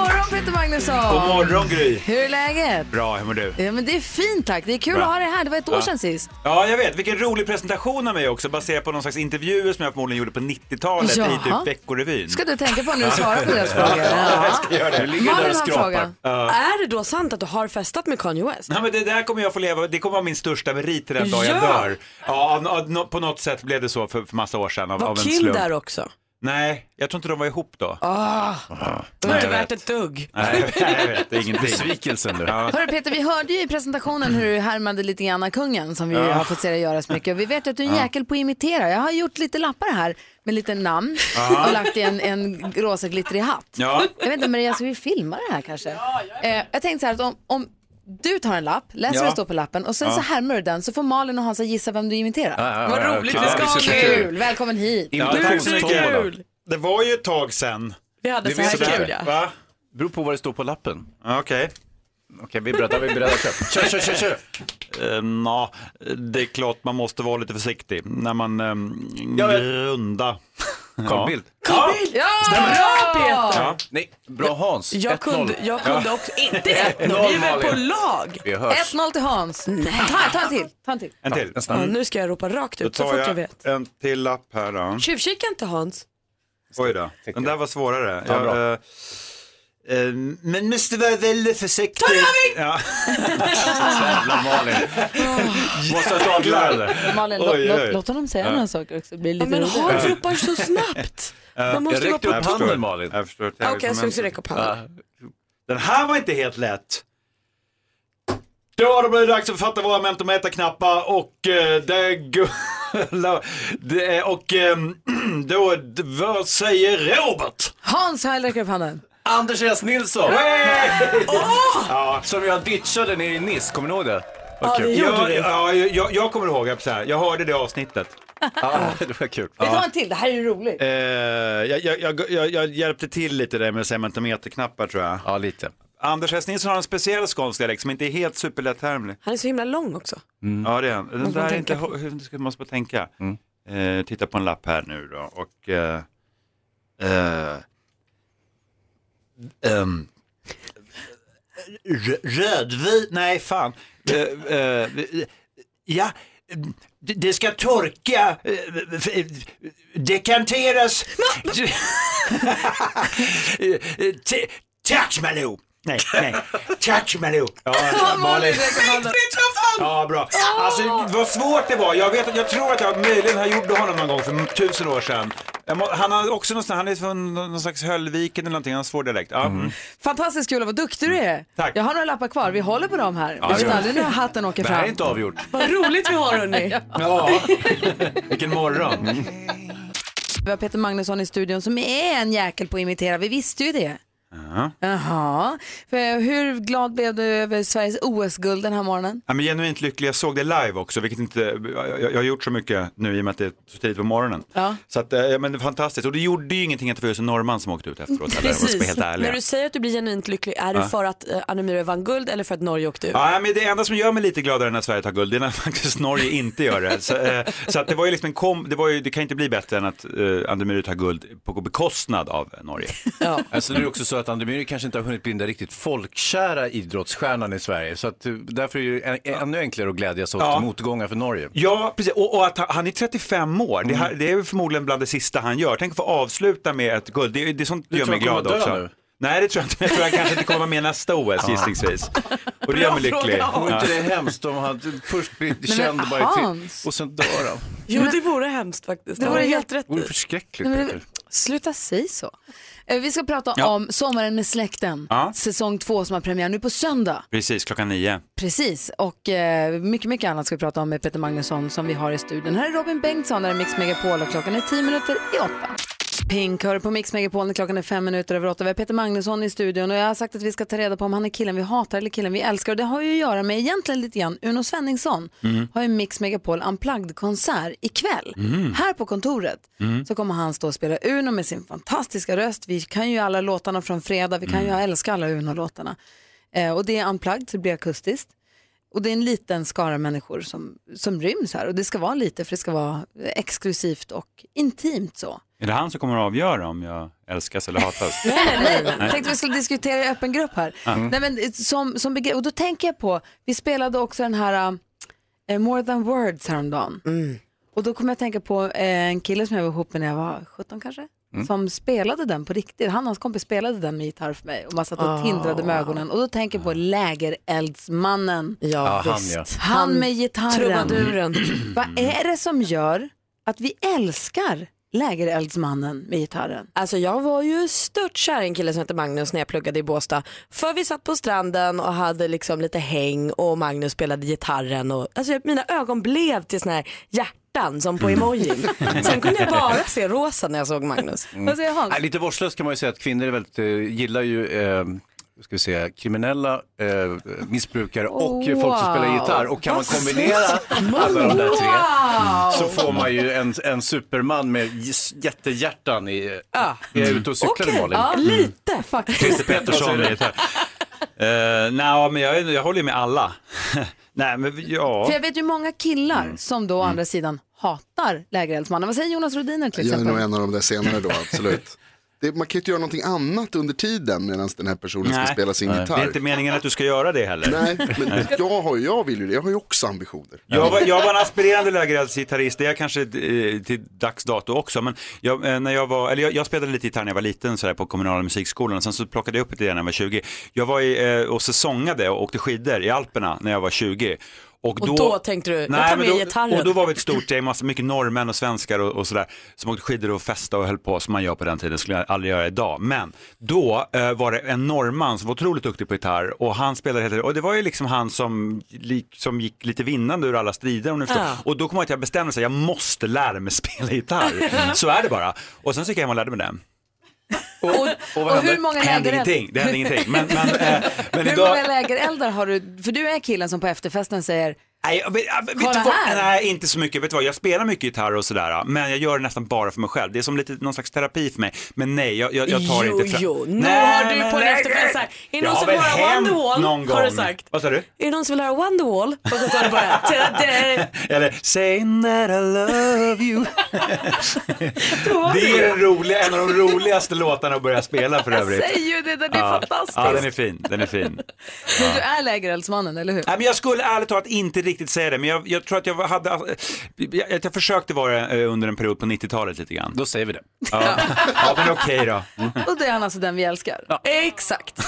[SPEAKER 1] morgon Peter Magnusson!
[SPEAKER 19] God morgon, Gry.
[SPEAKER 1] Hur är läget?
[SPEAKER 19] Bra, hur mår du?
[SPEAKER 1] Ja, men det är fint tack. Det är kul
[SPEAKER 19] Bra.
[SPEAKER 1] att ha dig här. Det var ett år
[SPEAKER 19] Ja.
[SPEAKER 1] sedan sist.
[SPEAKER 19] Ja, jag vet. Vilken rolig presentation av mig också baserat på någon slags intervjuer som jag förmodligen gjorde på 90-talet i
[SPEAKER 1] Jaha.
[SPEAKER 19] typ Veckorevyn.
[SPEAKER 1] Ska du tänka på när du svarar på deras
[SPEAKER 19] Ja,
[SPEAKER 1] frågor?
[SPEAKER 19] jag ska göra det.
[SPEAKER 2] Malin har en fråga.
[SPEAKER 19] Ja.
[SPEAKER 2] Är det då sant att du har festat med Kanye West?
[SPEAKER 19] Nej, men det där kommer jag få leva, det kommer vara min största merit den dag
[SPEAKER 2] Ja.
[SPEAKER 19] jag dör. Ja, av- av- nå- på något sätt blev det så för, för massa år sedan av,
[SPEAKER 2] Var
[SPEAKER 19] av en
[SPEAKER 2] Kim
[SPEAKER 19] slump.
[SPEAKER 2] där också?
[SPEAKER 19] Nej, jag tror inte de var ihop då.
[SPEAKER 2] Ah, det
[SPEAKER 19] Ah,
[SPEAKER 2] var
[SPEAKER 19] nej,
[SPEAKER 2] inte
[SPEAKER 19] jag
[SPEAKER 2] värt
[SPEAKER 19] vet.
[SPEAKER 2] ett dugg.
[SPEAKER 19] Nej, jag vet. Det är ingenting.
[SPEAKER 3] Besvikelsen
[SPEAKER 19] nu.
[SPEAKER 1] Hörru Peter, vi hörde ju i presentationen hur du härmade lite grann kungen som vi ju
[SPEAKER 19] Ja.
[SPEAKER 1] har fått se dig göra så mycket. Och vi vet ju att du är en
[SPEAKER 19] Ja.
[SPEAKER 1] jäkel på att imitera. Jag har gjort lite lappar här med lite namn
[SPEAKER 19] Ja.
[SPEAKER 1] och lagt i en, en rosa glittrig hatt.
[SPEAKER 19] Ja.
[SPEAKER 1] Jag vet inte Maria, ska vi filma det här kanske? jag, eh, jag tänkte så här att om, om du tar en lapp, läser
[SPEAKER 19] Ja.
[SPEAKER 1] vad det står på lappen och sen
[SPEAKER 19] Ja.
[SPEAKER 1] så härmar du den så får Malin och Hansa gissa vem du imiterar.
[SPEAKER 19] Ja, ja, Vad ja, roligt, kul. vi ska
[SPEAKER 1] ha
[SPEAKER 19] ha
[SPEAKER 1] kul.
[SPEAKER 19] kul.
[SPEAKER 1] kul. Välkommen hit.
[SPEAKER 19] Ja, tack så mycket. Det var ju ett tag sedan.
[SPEAKER 1] Vi hade så här kul, ja.
[SPEAKER 19] Va?
[SPEAKER 3] Beror på vad det står på lappen.
[SPEAKER 19] Okej.
[SPEAKER 3] Okej, vi är beredda. Vi är beredda. Kör.
[SPEAKER 19] Kör, kör, kör, kör. Ehm, ja, det är klart man måste vara lite försiktig när man um, grunda.
[SPEAKER 3] Carl Bildt.
[SPEAKER 19] Ja.
[SPEAKER 1] Ja!
[SPEAKER 2] Bra Peter!
[SPEAKER 19] Ja.
[SPEAKER 3] Nej, bra Hans.
[SPEAKER 2] Jag kunde, jag kunde också, inte ett, vi
[SPEAKER 3] Noll,
[SPEAKER 2] är väl på
[SPEAKER 3] Malin.
[SPEAKER 2] lag?
[SPEAKER 3] Vi hörs.
[SPEAKER 1] 1-0 till Hans. Ta, ta en till. Ta en till.
[SPEAKER 19] En till.
[SPEAKER 2] Ja, nu ska jag ropa rakt
[SPEAKER 19] Då
[SPEAKER 2] ut så
[SPEAKER 19] tar
[SPEAKER 2] fort jag
[SPEAKER 19] jag
[SPEAKER 2] vet.
[SPEAKER 19] en till lapp här då.
[SPEAKER 2] Tjuvkika inte Hans.
[SPEAKER 19] Oj då, den där var svårare.
[SPEAKER 3] Ja, bra.
[SPEAKER 19] Jag, eh, eh, men måste vara väldigt försiktig. Ja.
[SPEAKER 3] Jävla Malin.
[SPEAKER 19] Måste ha ett avgörande.
[SPEAKER 1] Malin,
[SPEAKER 19] Oj,
[SPEAKER 1] låt,
[SPEAKER 19] oj.
[SPEAKER 1] låt, låt honom säga
[SPEAKER 19] Ja.
[SPEAKER 1] några saker också. Det Blir lite
[SPEAKER 2] men
[SPEAKER 1] roligare.
[SPEAKER 2] Hans ropar så snabbt.
[SPEAKER 19] Ja.
[SPEAKER 2] Man måste
[SPEAKER 19] Eh, Jag räckte
[SPEAKER 2] vara
[SPEAKER 19] upp
[SPEAKER 2] på
[SPEAKER 19] handen,
[SPEAKER 2] tå.
[SPEAKER 19] Malin. Jag förstår.
[SPEAKER 2] Ja, Okej, jag ska också räcka upp handen.
[SPEAKER 19] Eh, Den här var inte helt lätt. Ja, då blir det dags att fatta våra mentor med knappar och eh, det gulla. Det är, och ehm, då, d- vad säger Robert?
[SPEAKER 1] Hans Höll räcker upp handen.
[SPEAKER 3] Anders S. Nilsson.
[SPEAKER 19] Ja.
[SPEAKER 3] Som jag ditchade ner i Niss, kommer ni ihåg det? Vad
[SPEAKER 19] Ja,
[SPEAKER 3] kul.
[SPEAKER 19] ja, ja, jag, jag kommer ihåg, jag, så här, jag hörde det avsnittet.
[SPEAKER 3] Ja,
[SPEAKER 19] det var kul.
[SPEAKER 1] Vi tar en till, det här är ju roligt.
[SPEAKER 19] Eh, jag, jag, jag, jag, jag hjälpte till lite där med cementimeterknappar tror jag.
[SPEAKER 3] Ja, lite.
[SPEAKER 19] Anders S. Nilsson har en speciell skånsk dialekt som inte är helt superlätthärmlig.
[SPEAKER 2] Han är så himla lång också.
[SPEAKER 3] Mm.
[SPEAKER 19] Ja, det är han. Den
[SPEAKER 2] Måste
[SPEAKER 19] där
[SPEAKER 2] man
[SPEAKER 19] är
[SPEAKER 2] tänka
[SPEAKER 19] inte,
[SPEAKER 2] på.
[SPEAKER 19] hur- ska- måste man tänka. Eh, titta på en lapp här nu då och... Eh, eh, ehm, rö- rödvin, nej fan. Eh, eh, ja, det- det ska torka, eh, f- eh, dekanteras. Eh, eh, t- Tack Malou! Nej, nej. Tack Malou! Ja, Malin. Ja, bra. Alltså vad svårt det var. Jag, vet, att- jag tror att jag möjligen har gjort honom någon gång för tusen år sedan. Jag må, han, har också någonstans, han är från någon slags Höllviken eller någonting, han har svår dialekt. Ja.
[SPEAKER 2] Mhm.
[SPEAKER 1] Fantastiskt kul, och vad duktig du är.
[SPEAKER 19] Tack.
[SPEAKER 1] Jag har några lappar kvar, vi håller på dem här.
[SPEAKER 19] Ja,
[SPEAKER 1] vi vet
[SPEAKER 19] gör det.
[SPEAKER 1] aldrig när hatten åker
[SPEAKER 19] Det här är
[SPEAKER 1] fram.
[SPEAKER 19] inte avgjort.
[SPEAKER 2] Vad roligt vi har hörni.
[SPEAKER 19] Ja, vilken morgon.
[SPEAKER 1] Vi har Peter Magnusson i studion som är en jäkel på att imitera, vi visste ju det.
[SPEAKER 19] Ja.
[SPEAKER 1] Jaha, För hur glad blev du över Sveriges OS-guld den här morgonen?
[SPEAKER 19] Ja, men genuint lycklig, jag såg det live också, vilket inte, jag, jag har gjort så mycket nu i och med att det är så tidigt på morgonen.
[SPEAKER 1] Ja.
[SPEAKER 19] Så att, eh, ja, men det är fantastiskt, och det gjorde ju ingenting att det var just en norrman som åkte ut efteråt. Eller, om jag ska vara
[SPEAKER 2] Precis.
[SPEAKER 19] helt ärlig.
[SPEAKER 2] När du säger att du blir genuint lycklig, är det
[SPEAKER 19] Ja.
[SPEAKER 2] för att eh, Anna Myhre vann guld eller för att Norge åkte ur?
[SPEAKER 19] Ja, men det enda som gör mig lite gladare när Sverige tar guld det är när faktiskt Norge inte gör det. Så, eh, så att det var ju liksom en kom, det, var ju, det kan inte bli bättre än att eh, Andy Myhre tar guld på bekostnad av Norge.
[SPEAKER 3] Alltså det är också så att Andy Myhre kanske inte har hunnit bli den där riktigt folkkära idrottsstjärnan i Sverige. Så att eh, därför är det ju än- ännu enklare att glädjas åt
[SPEAKER 19] Ja.
[SPEAKER 3] motgångar för Norge.
[SPEAKER 19] Ja, precis. Och, och att han, han är 35 år. Det,
[SPEAKER 3] Mm.
[SPEAKER 19] här, det är väl förmodligen bland det sista han gör. Tänk att få avsluta med ett guld. Det, är- det är sånt
[SPEAKER 3] Du
[SPEAKER 19] gör
[SPEAKER 3] tror
[SPEAKER 19] mig
[SPEAKER 3] han
[SPEAKER 19] glad
[SPEAKER 3] kommer dö
[SPEAKER 19] också.
[SPEAKER 3] nu?
[SPEAKER 19] Nej, det tror jag inte. Jag tror han kanske inte kommer vara med nästa OS
[SPEAKER 3] Ja.
[SPEAKER 19] gissningsvis. Och det gör mig lycklig.
[SPEAKER 3] Vore inte det
[SPEAKER 19] Ja.
[SPEAKER 3] hemskt om han först blir
[SPEAKER 19] men
[SPEAKER 3] känd bara i till
[SPEAKER 1] Hans.
[SPEAKER 3] och sen dör han?
[SPEAKER 2] Jo, det vore hemskt faktiskt.
[SPEAKER 1] Det vore
[SPEAKER 2] Ja.
[SPEAKER 1] helt rätt
[SPEAKER 3] Det vore
[SPEAKER 1] i.
[SPEAKER 3] förskräckligt.
[SPEAKER 1] Nej, men-
[SPEAKER 3] Peter.
[SPEAKER 1] Sluta säga så. Eh, Vi ska prata
[SPEAKER 19] Ja.
[SPEAKER 1] om Sommaren med släkten,
[SPEAKER 19] Ja.
[SPEAKER 1] säsong två som har premiär nu på söndag.
[SPEAKER 19] Precis, klockan nio.
[SPEAKER 1] Precis, och eh, mycket, mycket annat ska vi prata om med Peter Magnusson som vi har i studion. Här är Robin Bengtsson, där är Mix Megapol och klockan är 10 minuter i åtta. Pink hör på Mix Megapol när klockan är fem minuter över åtta. Vi har Peter Magnusson i studion och jag har sagt att vi ska ta reda på om han är killen vi hatar eller killen vi älskar. Och det har ju att göra med egentligen lite grann Uno Svenningsson
[SPEAKER 20] Mm.
[SPEAKER 1] har ju Mix Megapol Unplugged-konsert ikväll
[SPEAKER 20] Mm.
[SPEAKER 1] här på kontoret.
[SPEAKER 20] Mm.
[SPEAKER 1] Så kommer han stå och spela Uno med sin fantastiska röst. Vi kan ju alla låtarna från fredag, vi kan ju älska alla Uno-låtarna. Eh, och det är Unplugged, så det blir akustiskt. Och det är en liten skara människor som, som ryms här och det ska vara lite för det ska vara exklusivt och intimt så.
[SPEAKER 19] Är det han som kommer att avgöra om jag älskas eller hatas?
[SPEAKER 1] Nej, nej, nej. Jag tänkte vi skulle diskutera i öppen grupp här.
[SPEAKER 19] Mm.
[SPEAKER 1] Nej, men, eh, som, som begrepp, och då tänker jag på, vi spelade också den här eh, More than words häromdagen. Och då kommer jag tänka på eh, en kille som jag var ihop med när jag var 17 kanske.
[SPEAKER 20] Mm.
[SPEAKER 1] Som spelade den på riktigt. Han och hans kompis spelade den med gitarr för mig. Och man satt och
[SPEAKER 20] Ah.
[SPEAKER 1] tindrade med ögonen. Och då tänker jag på lägereldsmannen.
[SPEAKER 2] Ja,
[SPEAKER 20] Ja, han, visst. ja.
[SPEAKER 1] Han med gitarren.
[SPEAKER 2] Trubaduren.
[SPEAKER 1] Vad är det som gör att vi älskar lägereldsmannen med gitarren?
[SPEAKER 2] Alltså jag var ju stört kär i en kille som hette Magnus när jag pluggade i Båstad. För vi satt på stranden och hade liksom lite häng och Magnus spelade gitarren och alltså mina ögon blev till såna här hjärtan som
[SPEAKER 1] Mm.
[SPEAKER 2] på emojin. Sen kunde jag bara se rosa när jag såg Magnus.
[SPEAKER 1] Mm. Vad säger Hans?
[SPEAKER 3] Mm. Nej, lite vårdslöst kan man ju säga att kvinnor är väldigt, eh, gillar ju eh, ska vi säga, kriminella eh, missbrukare och
[SPEAKER 20] Wow.
[SPEAKER 3] folk som spelar gitarr. Och kan man
[SPEAKER 20] Vad
[SPEAKER 3] kombinera
[SPEAKER 20] snyggt.
[SPEAKER 3] alla de där tre
[SPEAKER 20] Wow.
[SPEAKER 3] så får man ju en, en superman med j- jättehjärtan i...
[SPEAKER 2] Ja.
[SPEAKER 3] Är jag ute och cyklar
[SPEAKER 2] Okej,
[SPEAKER 3] Malin? Mm.
[SPEAKER 2] ja,
[SPEAKER 19] Mm.
[SPEAKER 2] lite faktiskt.
[SPEAKER 19] Christer Pettersson med gitarr. Eh, Nej, men jag, är- jag håller ju med alla. Nej, men ja. Mm.
[SPEAKER 1] För jag vet ju många killar som då å andra sidan hatar lägereldsmannen. Vad säger Jonas Rhodiner till
[SPEAKER 6] Jag är
[SPEAKER 1] exempel?
[SPEAKER 6] nog en av de där senare då, absolut. Det, man kan ju inte göra någonting annat under tiden medan den här personen
[SPEAKER 19] Nej.
[SPEAKER 6] ska spela sin
[SPEAKER 19] Nej.
[SPEAKER 6] gitarr.
[SPEAKER 19] Det är inte meningen att du ska göra det heller.
[SPEAKER 6] Nej, men jag, har, ju- jag vill ju det. Jag har ju också ambitioner.
[SPEAKER 19] Jag var, jag var en aspirerande lägereldsgitarrist, det är jag kanske eh, till dags dato också, men jag, eh, när jag, var, eller jag, jag spelade lite gitarr när jag var liten sådär, på kommunala musikskolan, sen så plockade jag upp det när jag var 20. Jag var i, eh, och säsongade och åkte skidor i Alperna när jag var 20.
[SPEAKER 2] Och då tänkte du, jag tar
[SPEAKER 19] Nej,
[SPEAKER 2] med
[SPEAKER 19] men då,
[SPEAKER 2] gitarren.
[SPEAKER 19] Och då var vi ett stort gäng, massa, mycket norrmän och svenskar och, och sådär, som åkte skidor och festade och höll på som man gör på den tiden, skulle jag aldrig göra idag. Men då eh, var det en norrman som var otroligt duktig på gitarr och han spelade hela tiden, och det var ju liksom han som, lik, som gick lite vinnande ur alla strider om ni förstår.
[SPEAKER 20] Ja.
[SPEAKER 19] Och då kom jag till att jag bestämde mig, jag måste lära mig spela gitarr. Så är det bara. Och sen så gick jag hem och lärde mig det.
[SPEAKER 1] Och hur många
[SPEAKER 19] Det hände
[SPEAKER 1] lägereld-
[SPEAKER 19] ingenting, det hände ingenting. Men, men, eh, men
[SPEAKER 1] Hur
[SPEAKER 19] idag...
[SPEAKER 1] många lägereldar har du? För du är killen som på efterfesten säger,
[SPEAKER 19] Nej, jag vet, jag vet
[SPEAKER 1] Kolla
[SPEAKER 19] du vad,
[SPEAKER 1] här.
[SPEAKER 19] nej, inte så mycket. Vet du vad, jag spelar mycket gitarr och sådär, men jag gör det nästan bara för mig själv. Det är som lite, någon slags terapi för mig. Men nej, jag, jag, jag tar
[SPEAKER 2] jo,
[SPEAKER 19] inte fram...
[SPEAKER 2] Jo, nu
[SPEAKER 19] Nej,
[SPEAKER 2] har du
[SPEAKER 19] men
[SPEAKER 2] på en
[SPEAKER 19] lägg
[SPEAKER 2] efterfest
[SPEAKER 19] det!
[SPEAKER 2] så här, är det
[SPEAKER 19] Jag
[SPEAKER 2] någon
[SPEAKER 19] har
[SPEAKER 2] som
[SPEAKER 19] väl
[SPEAKER 2] vill höra
[SPEAKER 19] hänt
[SPEAKER 2] Wonderwall?
[SPEAKER 19] någon
[SPEAKER 2] Har du
[SPEAKER 19] gång.
[SPEAKER 2] sagt.
[SPEAKER 19] Vad sa du?
[SPEAKER 2] Är det någon som vill höra Wonderwall? Och så sa du bara, "Ta-da."
[SPEAKER 19] Eller, saying that I love you. det är den roliga, en av de roligaste låtarna att börja spela för övrigt.
[SPEAKER 1] säg ju det, den är
[SPEAKER 19] ja.
[SPEAKER 1] fantastisk.
[SPEAKER 19] Ja, den är fin, den är fin.
[SPEAKER 1] men du är lägereldsmannen, eller hur?
[SPEAKER 19] Nej, men jag skulle ärligt talat inte riktigt säga det, men jag, jag tror att jag, hade, eh, jag, att jag försökte vara eh, under en period på 90-talet lite grann. Då säger vi det. Ja, ja men okej då. Mm.
[SPEAKER 1] Och det är han alltså den vi älskar. Exakt.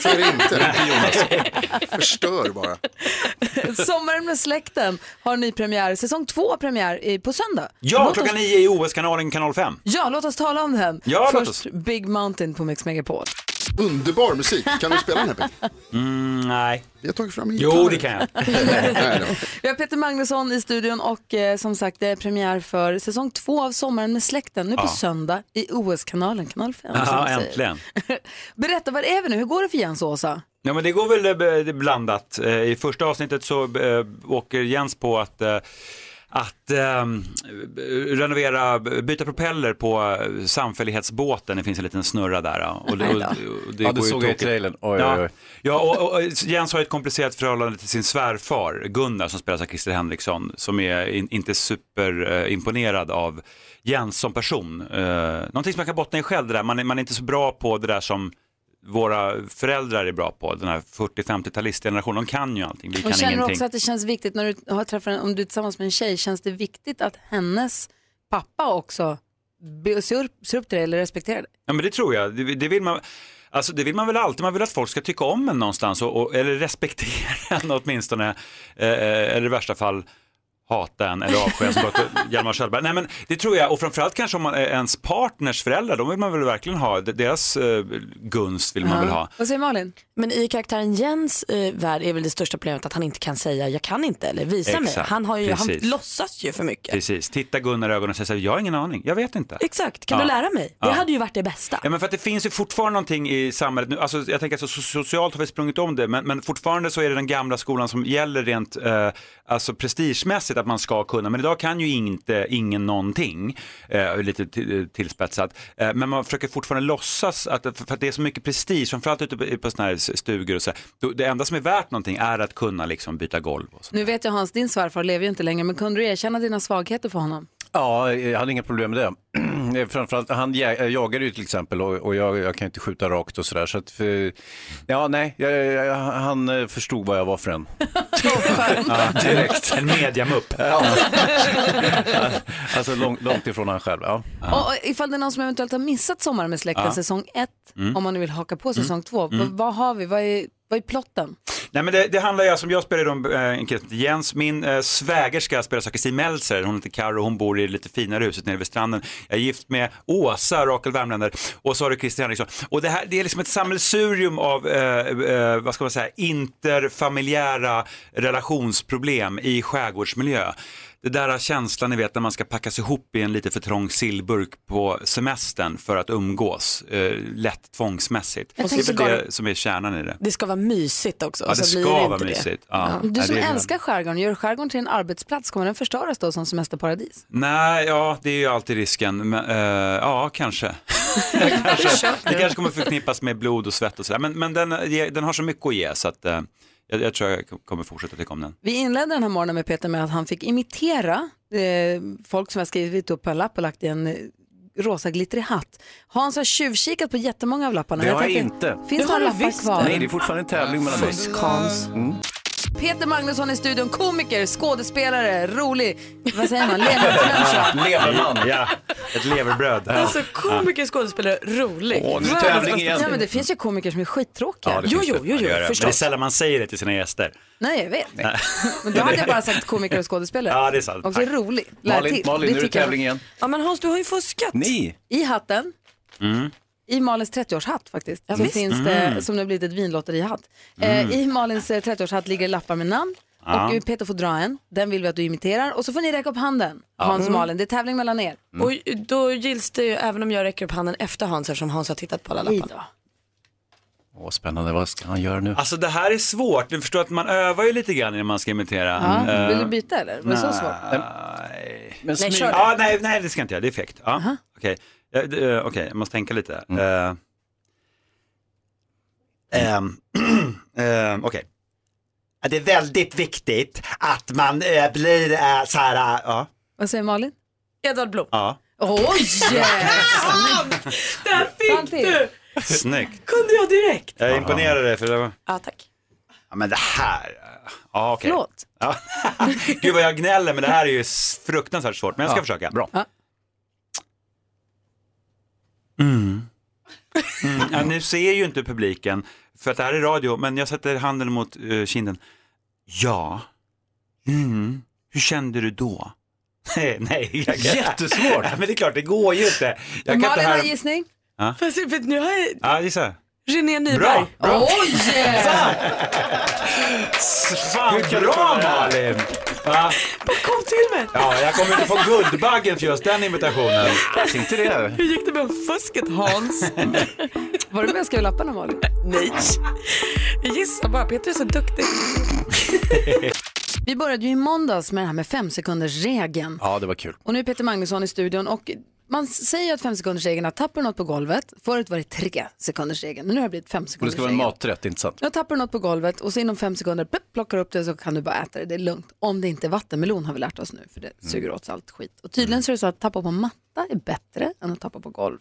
[SPEAKER 6] Så är det inte. Jonas. Förstör bara.
[SPEAKER 1] Sommaren med släkten har ny premiär, säsong två premiär i- på söndag.
[SPEAKER 19] Ja,
[SPEAKER 1] Låt
[SPEAKER 19] klockan
[SPEAKER 1] oss-
[SPEAKER 19] nio i OS-kanalen, kanal 5.
[SPEAKER 1] Ja, låt oss tala om den.
[SPEAKER 19] Ja, låt
[SPEAKER 1] Först Big Mountain på Mix Megapol.
[SPEAKER 6] Underbar musik. Kan du spela den här Peter?
[SPEAKER 19] Mm, nej.
[SPEAKER 6] Vi har tagit fram en
[SPEAKER 19] Jo,
[SPEAKER 6] gitarr.
[SPEAKER 19] det kan jag.
[SPEAKER 6] Nej, då.
[SPEAKER 1] Vi har Peter Magnusson i studion och eh, som sagt det är premiär för säsong två av Sommaren med släkten nu på
[SPEAKER 19] Ja.
[SPEAKER 1] söndag i OS-kanalen, kanal 5. som
[SPEAKER 19] Ja,
[SPEAKER 1] man säger.
[SPEAKER 19] äntligen.
[SPEAKER 1] Berätta, var är vi nu? Hur går det för Jens och Åsa?
[SPEAKER 19] Ja, men det går väl eh, b- blandat. Eh, I första avsnittet så eh, åker Jens på att eh, att ehm, b- renovera, b- byta propeller på eh, samfällighetsbåten, det finns en liten snurra där. ja. Och
[SPEAKER 3] Aj då. Ja, det
[SPEAKER 19] går ju
[SPEAKER 3] såg jag i
[SPEAKER 19] tokigt.
[SPEAKER 3] trailern. Oj,
[SPEAKER 19] ja.
[SPEAKER 3] oj, oj.
[SPEAKER 19] Ja, och, och, och Jens har ett komplicerat förhållande till sin svärfar Gunnar som spelas av Christer Henriksson som är in, inte superimponerad av Jens som person. Uh, någonting som jag kan bottna i själv det där, man är, man är inte så bra på det där som våra föräldrar är bra på, den här 40-50-talistgenerationen, de kan ju allting, vi
[SPEAKER 1] Och
[SPEAKER 19] kan
[SPEAKER 1] känner du
[SPEAKER 19] ingenting.
[SPEAKER 1] också att det känns viktigt när du har träffat en, om du är tillsammans med en tjej, känns det viktigt att hennes pappa också be- ser upp, ser upp till dig eller respekterar dig?
[SPEAKER 19] Ja men det tror jag. Det, det, vill man, alltså, det vill man väl alltid. Man vill att folk ska tycka om en någonstans och, och, eller respektera en åtminstone. Eh, eh, eller i värsta fall hata en eller avsky en som gått Hjalmar Kjellberg. Nej men det tror jag och framförallt kanske om man, eh, ens partners föräldrar, de vill man väl verkligen ha, deras eh, gunst vill man väl ha.
[SPEAKER 1] Vad säger Malin?
[SPEAKER 2] Men i karaktären Jens eh, värld är väl det största problemet att han inte kan säga jag kan inte eller visa mig.
[SPEAKER 19] Exakt,
[SPEAKER 2] Han, har ju, han
[SPEAKER 19] precis.
[SPEAKER 2] låtsas ju för mycket.
[SPEAKER 19] Precis, titta Gunnar i ögonen och säga så här, jag har ingen aning, jag vet inte.
[SPEAKER 2] Exakt, kan
[SPEAKER 19] Ja.
[SPEAKER 2] du lära mig? Det
[SPEAKER 19] Ja.
[SPEAKER 2] hade ju varit det bästa.
[SPEAKER 19] Ja, men för att det finns ju fortfarande någonting i samhället nu. Alltså, jag tänker att så socialt har vi sprungit om det, men, men fortfarande så är det den gamla skolan som gäller rent eh, alltså prestigemässigt att man ska kunna. Men idag kan ju inte, ingen någonting, eh, lite till- tillspetsat. Eh, men man försöker fortfarande låtsas att, för att det är så mycket prestige, framförallt ute på, på sådana här stugor och så. här. Då- Det enda som är värt någonting är att kunna liksom byta golv. Och så.
[SPEAKER 1] Nu vet jag Hans, din svärfar lever ju inte längre, men kunde du erkänna dina svagheter för honom?
[SPEAKER 3] Ja, jag hade inga problem med det. Eh, Framförallt, han jag, jagade ju till exempel och, och jag, jag kan ju inte skjuta rakt och sådär. Så att, eh, ja, nej, jag, jag, han eh, förstod vad jag var för en. ja, direkt.
[SPEAKER 19] En mediamupp.
[SPEAKER 3] Ja. Alltså lång, långt ifrån han själv. Ja.
[SPEAKER 1] Och, och ifall det är någon som eventuellt har missat Sommar med släkten
[SPEAKER 3] Ja.
[SPEAKER 1] säsong 1,
[SPEAKER 19] Mm.
[SPEAKER 1] om man nu vill haka på säsong
[SPEAKER 19] Mm.
[SPEAKER 1] 2,
[SPEAKER 19] Mm.
[SPEAKER 1] vad har vi? Vad är, vad är plotten?
[SPEAKER 19] Nej men det, det handlar ju alltså om, jag spelar ju då, eh, en kille som heter Jens, min eh, svägerska spelas av Kristin Meltzer, hon heter Karo, hon bor i det lite finare huset nere vid stranden. Jag är gift med Åsa, Rakel Värmländer, och så har du Christer Henriksson. Och det här, det är liksom ett sammelsurium av, eh, eh, vad ska man säga, interfamiljära relationsproblem i skärgårdsmiljö. Det där känslan ni vet när man ska packas ihop i en lite för trång sillburk på semestern för att umgås, eh, lätt tvångsmässigt.
[SPEAKER 2] Jag
[SPEAKER 19] Det är väl
[SPEAKER 2] tänker-
[SPEAKER 19] det som är kärnan i det.
[SPEAKER 2] Det ska vara mysigt också.
[SPEAKER 19] Ja,
[SPEAKER 2] och
[SPEAKER 19] det
[SPEAKER 2] så
[SPEAKER 19] ska
[SPEAKER 2] blir det inte
[SPEAKER 19] vara
[SPEAKER 2] det.
[SPEAKER 19] mysigt. Ja.
[SPEAKER 1] Du
[SPEAKER 19] Ja,
[SPEAKER 1] som
[SPEAKER 19] det är det.
[SPEAKER 1] älskar skärgården, gör skärgården till en arbetsplats, kommer den förstöras då som semesterparadis?
[SPEAKER 19] Nej, ja, det är ju alltid risken. Men, eh, ja, kanske. kanske. Det kanske kommer förknippas med blod och svett och sådär. Men, men den, eh, den har så mycket att ge så att eh, jag, jag tror jag kommer fortsätta tycka om den.
[SPEAKER 1] Vi inledde den här morgonen med Peter med att han fick imitera eh, folk som har skrivit upp på en lapp och lagt i en eh, rosa glittrig hatt. Hans har tjuvkikat på jättemånga av lapparna.
[SPEAKER 3] Det har jag
[SPEAKER 1] tänker,
[SPEAKER 3] inte.
[SPEAKER 1] Finns det några lappar kvar?
[SPEAKER 3] Nej, det är fortfarande en tävling mellan oss.
[SPEAKER 1] Fuskans.
[SPEAKER 3] Mm.
[SPEAKER 1] Peter Magnusson i studion, komiker, skådespelare, rolig, vad säger man, levermänniska.
[SPEAKER 3] Leverman.
[SPEAKER 19] Ja, ett leverbröd. Ja.
[SPEAKER 2] Alltså komiker, skådespelare, roligt.
[SPEAKER 19] Åh, nu är det tävling
[SPEAKER 2] Världens bästa-
[SPEAKER 19] igen.
[SPEAKER 1] Ja, men det finns ju komiker som är skittråkiga.
[SPEAKER 19] Ja, det
[SPEAKER 2] Jo,
[SPEAKER 19] finns
[SPEAKER 2] jo,
[SPEAKER 19] det.
[SPEAKER 2] jo, jo,
[SPEAKER 19] Ja, det gör det.
[SPEAKER 2] förstås.
[SPEAKER 19] Men det är sällan man säger det till sina gäster.
[SPEAKER 1] Nej, jag vet.
[SPEAKER 19] Nej.
[SPEAKER 1] Men då hade jag bara sagt komiker och skådespelare.
[SPEAKER 19] Ja, det är sant.
[SPEAKER 1] Och så är det roligt. Lär
[SPEAKER 3] Malin-
[SPEAKER 1] till.
[SPEAKER 3] Malin, nu är det
[SPEAKER 1] tycker jag.
[SPEAKER 3] tävling igen.
[SPEAKER 1] Ja, men Hans, du har ju fuskat.
[SPEAKER 3] Nej.
[SPEAKER 1] I hatten,
[SPEAKER 19] Mm.
[SPEAKER 1] i Malins 30-årshatt faktiskt, så
[SPEAKER 19] visst.
[SPEAKER 1] finns det,
[SPEAKER 19] Mm.
[SPEAKER 1] som nu har blivit ett vinlotterihatt.
[SPEAKER 19] Mm.
[SPEAKER 1] Eh, I Malins eh, 30-årshatt ligger lappar med namn.
[SPEAKER 19] Ja.
[SPEAKER 1] Och eh, Peter får dra en, den vill vi att du imiterar. Och så får ni räcka upp handen,
[SPEAKER 2] Ja.
[SPEAKER 1] Hans och
[SPEAKER 2] Mm.
[SPEAKER 1] Malin. Det är tävling mellan er.
[SPEAKER 19] Mm.
[SPEAKER 2] Och då gills det ju även om jag räcker upp handen efter Hans eftersom Hans har tittat på alla lapparna.
[SPEAKER 3] Åh, spännande, vad ska han göra nu?
[SPEAKER 19] Alltså det här är svårt, du förstår att man övar ju lite grann när man ska imitera.
[SPEAKER 1] Ja.
[SPEAKER 19] Eh,
[SPEAKER 1] Vill du byta eller? Var det så
[SPEAKER 19] nej.
[SPEAKER 1] svårt?
[SPEAKER 19] Nej.
[SPEAKER 1] Men
[SPEAKER 19] nej,
[SPEAKER 1] smyg- kör du.
[SPEAKER 19] ja, nej, nej, det ska jag inte göra. Det är fegt. Ja. Okej, Eh, d- eh, okej, jag måste tänka lite.
[SPEAKER 1] Mm.
[SPEAKER 19] Eh, ehm, ehm, Okej.
[SPEAKER 20] Det är väldigt viktigt att man eh, blir eh, så här, eh, ja.
[SPEAKER 1] Vad säger Malin?
[SPEAKER 2] Edvard Blom.
[SPEAKER 19] Ja.
[SPEAKER 1] Oj!
[SPEAKER 2] Där fick du!
[SPEAKER 19] Snyggt.
[SPEAKER 2] Kunde jag direkt?
[SPEAKER 19] Jag imponerar dig för det var...
[SPEAKER 2] Ja, tack.
[SPEAKER 19] Ja, men det här. Ja, okej.
[SPEAKER 2] Förlåt.
[SPEAKER 19] Ja. Gud vad jag gnäller, men det här är ju s- fruktansvärt svårt. Men jag ska försöka. Bra. Mm. Mm. Ja, nu ser ju inte publiken, för att det här är radio, men jag sätter handen mot eh, kinden. Ja. Mm. Hur kände du då? Nej, nej. Jag,
[SPEAKER 3] Jättesvårt.
[SPEAKER 19] Ja, men det är klart, det går ju inte. Jag kan inte
[SPEAKER 1] Malin har
[SPEAKER 19] höra...
[SPEAKER 1] gissning.
[SPEAKER 19] Ja.
[SPEAKER 2] Fast för nu har jag
[SPEAKER 19] Ja, gissa.
[SPEAKER 2] René Nyberg.
[SPEAKER 19] Bra, bra.
[SPEAKER 1] Oj!
[SPEAKER 19] Fan, bra Malin! Va?
[SPEAKER 2] Kom till mig.
[SPEAKER 19] Ja, jag kommer inte få Guldbaggen för just den imitationen.
[SPEAKER 3] Inte det.
[SPEAKER 2] Hur gick det med fusket Hans?
[SPEAKER 1] Var du med och skrev lapparna Malin?
[SPEAKER 2] Nej. Jag gissar bara, Peter är så duktig.
[SPEAKER 1] Vi började ju i måndags med det här med femsekundersregeln.
[SPEAKER 3] Ja, det var kul.
[SPEAKER 1] Och nu är Peter Magnusson i studion och man säger ju att femsekundersregeln är att tappar du något på golvet, förut var det tre sekundersregeln, men nu har det blivit
[SPEAKER 3] Och det ska vara en
[SPEAKER 1] femsekundersregeln.
[SPEAKER 3] maträtt, inte sant?
[SPEAKER 1] Nu tappar du något på golvet och så inom fem sekunder plupp, plockar du upp det så kan du bara äta det, det är lugnt. Om det inte är vattenmelon har vi lärt oss nu, för det
[SPEAKER 3] Mm.
[SPEAKER 1] suger åt sig allt skit. Och tydligen så är det så att tappa på matta är bättre än att tappa på golv.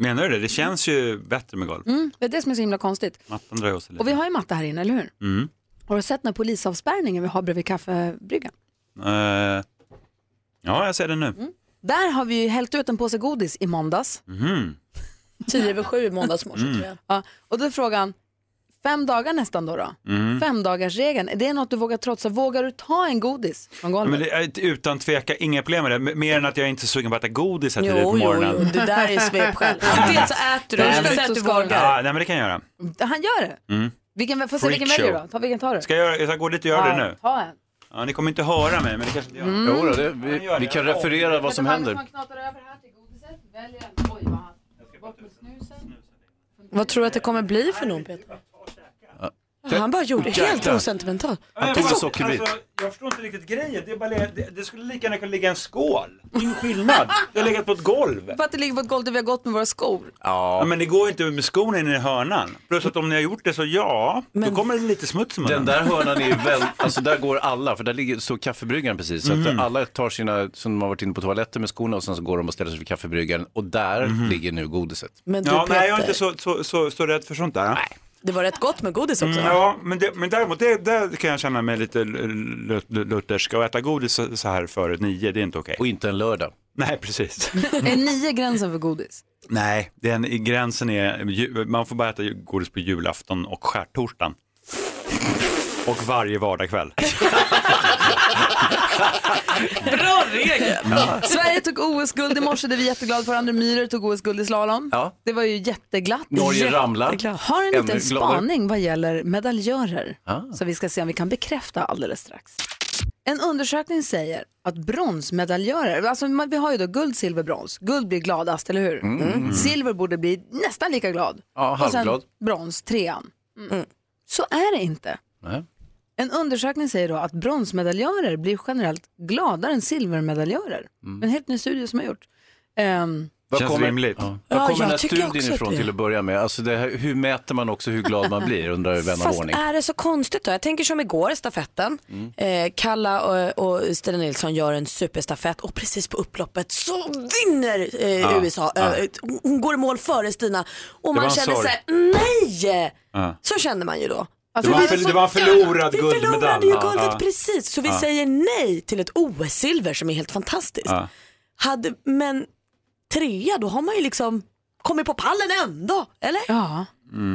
[SPEAKER 19] Menar du det? Det känns ju bättre med golv.
[SPEAKER 1] Mm, det är det som är så himla konstigt.
[SPEAKER 19] Mattan drar ju åt sig
[SPEAKER 1] Och
[SPEAKER 19] lite.
[SPEAKER 1] vi har ju matta här inne, eller hur?
[SPEAKER 19] Mm.
[SPEAKER 1] Har du sett den här polisavspärrningen vi har bredvid kaffebryggan?
[SPEAKER 19] Eh, ja, jag ser det nu.
[SPEAKER 1] Mm. Där har vi ju hällt ut en påse godis i måndags.
[SPEAKER 19] Mhm.
[SPEAKER 2] Tio över sju i måndagsmorse
[SPEAKER 19] Mm.
[SPEAKER 2] tror jag.
[SPEAKER 1] Ja, och då är frågan, Fem dagar nästan då. då.
[SPEAKER 19] Mm.
[SPEAKER 1] Fem dagars regeln. Är det något du vågar trotsa? Vågar du ta en godis från
[SPEAKER 19] Ja,
[SPEAKER 1] golvet?
[SPEAKER 19] Men det, är ett- utan tveka, inga problem med det. M- Mer än att jag inte är sugen på att äta godis här tidigt på
[SPEAKER 1] Jo, jo,
[SPEAKER 19] morgonen.
[SPEAKER 1] jo,
[SPEAKER 2] Det där är svep själv. Antingen så äter du
[SPEAKER 19] Nej,
[SPEAKER 2] eller
[SPEAKER 19] men-
[SPEAKER 2] så äter du
[SPEAKER 19] Ja,
[SPEAKER 2] vaggar.
[SPEAKER 19] nej men det kan jag göra.
[SPEAKER 1] Han gör det.
[SPEAKER 19] Mm.
[SPEAKER 1] Vilken, får se vilken
[SPEAKER 19] Freakshow.
[SPEAKER 1] väljer du då? Ta, vilken tar du?
[SPEAKER 19] Ska jag, göra- jag ska gå dit och göra
[SPEAKER 1] Ja,
[SPEAKER 19] det nu?
[SPEAKER 1] Ta en.
[SPEAKER 19] Ja, ni kommer inte höra mig, men det kanske inte gör.
[SPEAKER 1] Mm. Jo då, det-
[SPEAKER 19] vi,
[SPEAKER 3] vi kan referera vad som händer.
[SPEAKER 2] Vad tror du att det kommer bli för någon Peter? Han bara gjorde
[SPEAKER 19] Jäklar.
[SPEAKER 2] helt osentimental.
[SPEAKER 19] Ja,
[SPEAKER 2] Det
[SPEAKER 19] men
[SPEAKER 2] är så-
[SPEAKER 19] alltså, jag förstår inte riktigt grejen. Det, är bara, det, det skulle lika gärna kunna ligga en skål. Det är ingen skillnad. Det har legat på ett golv.
[SPEAKER 1] För att det ligger på ett golv där vi har gått med våra skor.
[SPEAKER 19] Ja. men det går ju inte med skorna in i hörnan. Plus att om ni har gjort det så ja, då kommer det lite smuts i munnen.
[SPEAKER 3] Den där hörnan är ju väl, alltså där går alla, för där ligger så kaffebryggaren precis. Så
[SPEAKER 19] Mhm.
[SPEAKER 3] att alla tar sina, som de har varit inne på toaletten med skorna och sen så går de och ställer sig vid kaffebryggaren och där ligger nu godiset.
[SPEAKER 2] Men du,
[SPEAKER 19] Mhm. ja, nej, jag är
[SPEAKER 2] Peter.
[SPEAKER 19] inte så, så, så, så rädd för sånt där. Nej.
[SPEAKER 2] Det var rätt gott med godis också.
[SPEAKER 19] Mm, ja, men, det, men däremot det, där kan jag känna mig lite l- l- l- luthersk. Att äta godis så, så här före nio, det är inte okej. Och
[SPEAKER 3] inte en lördag.
[SPEAKER 19] Nej, precis.
[SPEAKER 1] är nio gränsen för godis?
[SPEAKER 19] Nej, den, i gränsen är, ju- man får bara äta ju- godis på julafton och skärtorsdagen. Och varje vardagkväll.
[SPEAKER 1] Bra regel! Sverige tog OS-guld i morse, det är vi jätteglada för. André Myhrer tog OS-guld i slalom.
[SPEAKER 3] Ja.
[SPEAKER 1] Det var ju jätteglatt.
[SPEAKER 3] Norge ramlar.
[SPEAKER 1] Jätteglatt. Har en liten
[SPEAKER 3] Ännu gladare.
[SPEAKER 1] spaning vad gäller medaljörer.
[SPEAKER 3] Ah.
[SPEAKER 1] Så vi ska se om vi kan bekräfta alldeles strax. En undersökning säger att bronsmedaljörer, alltså man- vi har ju då guld, silver, brons. Guld blir gladast, eller hur?
[SPEAKER 3] Mm. Mm.
[SPEAKER 1] Silver borde bli nästan lika glad.
[SPEAKER 3] Ja, halvglad.
[SPEAKER 1] Och sen brons, trean. Mm. Så är det inte.
[SPEAKER 3] Nej.
[SPEAKER 1] En undersökning säger då att bronsmedaljörer blir generellt gladare än silvermedaljörer. En helt ny studie som har gjort. Ehm,
[SPEAKER 3] Vad
[SPEAKER 19] Känns rimligt.
[SPEAKER 3] Ja.
[SPEAKER 1] Ja,
[SPEAKER 3] Var kommer
[SPEAKER 1] jag
[SPEAKER 3] den här
[SPEAKER 1] tycker också
[SPEAKER 3] studien
[SPEAKER 1] att
[SPEAKER 3] ifrån
[SPEAKER 1] det-
[SPEAKER 3] till att börja med? Alltså det här, hur mäter man också hur glad man blir, undrar vän av
[SPEAKER 2] Fast
[SPEAKER 3] ordning.
[SPEAKER 2] är det så konstigt då? Jag tänker som igår, stafetten.
[SPEAKER 3] Mm.
[SPEAKER 2] Eh, Kalla och, och Stina Nilsson gör en superstafett och precis på upploppet så vinner eh,
[SPEAKER 19] Ja,
[SPEAKER 3] Ah,
[SPEAKER 2] USA.
[SPEAKER 19] ja.
[SPEAKER 2] Eh, hon går i mål före Stina och
[SPEAKER 19] Det
[SPEAKER 2] man
[SPEAKER 19] var en
[SPEAKER 2] känner
[SPEAKER 19] sorg.
[SPEAKER 2] så här, nej!
[SPEAKER 19] Ja.
[SPEAKER 2] Så känner man ju då.
[SPEAKER 19] Det var en för- det var en förlorad guldmedalj.
[SPEAKER 2] Vi förlorade ju
[SPEAKER 19] Ja,
[SPEAKER 2] guldet
[SPEAKER 3] Ah.
[SPEAKER 19] ja.
[SPEAKER 2] precis, så vi
[SPEAKER 19] Ja.
[SPEAKER 2] säger nej till ett OS-silver som är helt fantastiskt.
[SPEAKER 19] Ja.
[SPEAKER 2] Hade, men trea, då har man ju liksom kommit på pallen ändå, eller?
[SPEAKER 1] Ja.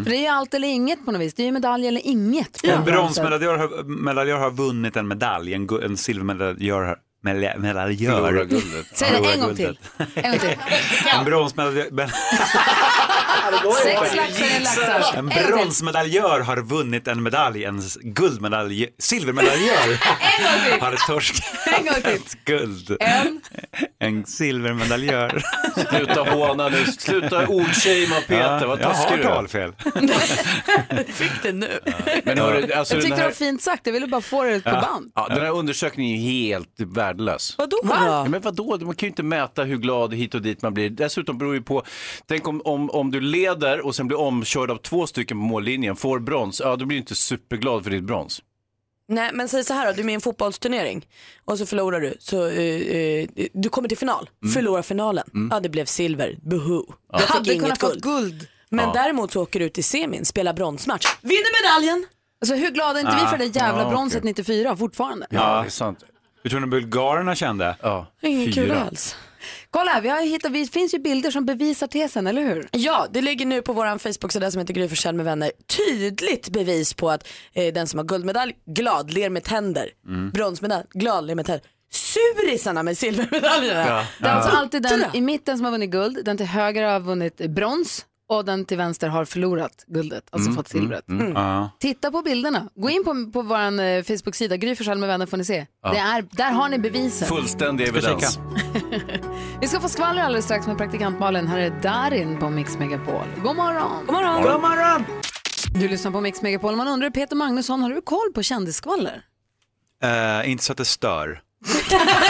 [SPEAKER 1] För det är ju allt eller inget på något vis. Det är ju medalj eller inget.
[SPEAKER 19] Mm. En bronsmedaljör har, medaljör har vunnit en medalj, en, gu- en silvermedaljör har medalj- medaljör.
[SPEAKER 3] Förlorar guldet.
[SPEAKER 1] Säg det en
[SPEAKER 19] Förlorar
[SPEAKER 1] gång till.
[SPEAKER 19] guldet.
[SPEAKER 1] En gång till.
[SPEAKER 19] En bronsmedaljör... men-
[SPEAKER 1] Sex laxar är laxar.
[SPEAKER 19] En
[SPEAKER 1] En gång till.
[SPEAKER 19] bronsmedaljör har vunnit en medalj, en s- guldmedalj, silvermedaljör har
[SPEAKER 1] En gång
[SPEAKER 19] torskat
[SPEAKER 1] till.
[SPEAKER 19] ett guld.
[SPEAKER 1] En.
[SPEAKER 19] En silvermedaljör.
[SPEAKER 3] Sluta håna nu, sluta ordshamea Peter, vad
[SPEAKER 19] Jag
[SPEAKER 3] taskig
[SPEAKER 19] har
[SPEAKER 3] du är.
[SPEAKER 19] talfel.
[SPEAKER 2] Fick det nu.
[SPEAKER 3] Men hörru, alltså
[SPEAKER 1] jag
[SPEAKER 3] den
[SPEAKER 1] tyckte det
[SPEAKER 3] här...
[SPEAKER 1] var fint sagt, jag ville bara få det på
[SPEAKER 3] Ja.
[SPEAKER 1] band.
[SPEAKER 3] Ja, den här undersökningen är ju helt värdelös.
[SPEAKER 2] Vadå?
[SPEAKER 1] Va?
[SPEAKER 3] Ja, men vadå? Man kan ju inte mäta hur glad hit och dit man blir. Dessutom beror det ju på, tänk om, om, om du leder och sen blir omkörd av två stycken på mållinjen, får brons, ja då blir du inte superglad för ditt brons.
[SPEAKER 2] Nej men säg så här då, du är med i en fotbollsturnering och så förlorar du. Så, eh, eh, du kommer till final, förlorar finalen. Ja det blev silver, buhu.
[SPEAKER 1] Mm. Ja.
[SPEAKER 2] Du
[SPEAKER 1] Hade
[SPEAKER 2] fick
[SPEAKER 1] kunnat
[SPEAKER 2] inget
[SPEAKER 1] få
[SPEAKER 2] guld.
[SPEAKER 1] guld.
[SPEAKER 2] Men
[SPEAKER 1] Ja.
[SPEAKER 2] däremot så åker du ut i semin, spelar bronsmatch, vinner medaljen.
[SPEAKER 1] Alltså hur glada är inte vi
[SPEAKER 19] Ah.
[SPEAKER 1] för det jävla
[SPEAKER 19] Ja, okej.
[SPEAKER 1] bronset 94 fortfarande?
[SPEAKER 19] Ja,
[SPEAKER 3] det är sant.
[SPEAKER 19] Hur tror ni bulgarerna kände?
[SPEAKER 3] Ja.
[SPEAKER 1] Ingen kul alls. Kolla här, vi har ju hittat, det finns ju bilder som bevisar tesen, eller hur?
[SPEAKER 2] Ja, det ligger nu på vår Facebook-sida som heter Gry Forssell med vänner tydligt bevis på att eh, den som har guldmedalj gladler med tänder,
[SPEAKER 1] Mm.
[SPEAKER 2] bronsmedalj gladler med tänder, surisarna med silvermedaljerna.
[SPEAKER 1] Ja. Det är alltså alltid den i mitten som har vunnit guld, den till höger har vunnit brons och den till vänster har förlorat guldet, alltså fått silvret.
[SPEAKER 19] Mm. Mm. Ja.
[SPEAKER 1] Titta på bilderna, gå in på, på vår eh, Facebook-sida, Gry Forssell med vänner får ni se.
[SPEAKER 3] Ja.
[SPEAKER 1] Det är, där har ni bevisen.
[SPEAKER 3] Fullständig evidens.
[SPEAKER 1] Vi ska få skvaller alldeles strax med praktikant Malin. Här är Darin på Mix Megapol. God morgon! God morgon!
[SPEAKER 3] God
[SPEAKER 1] morgon! Du lyssnar på Mix Megapol. Man undrar, Peter Magnusson, har du koll på kändisskvaller?
[SPEAKER 19] Eh, inte så att det stör.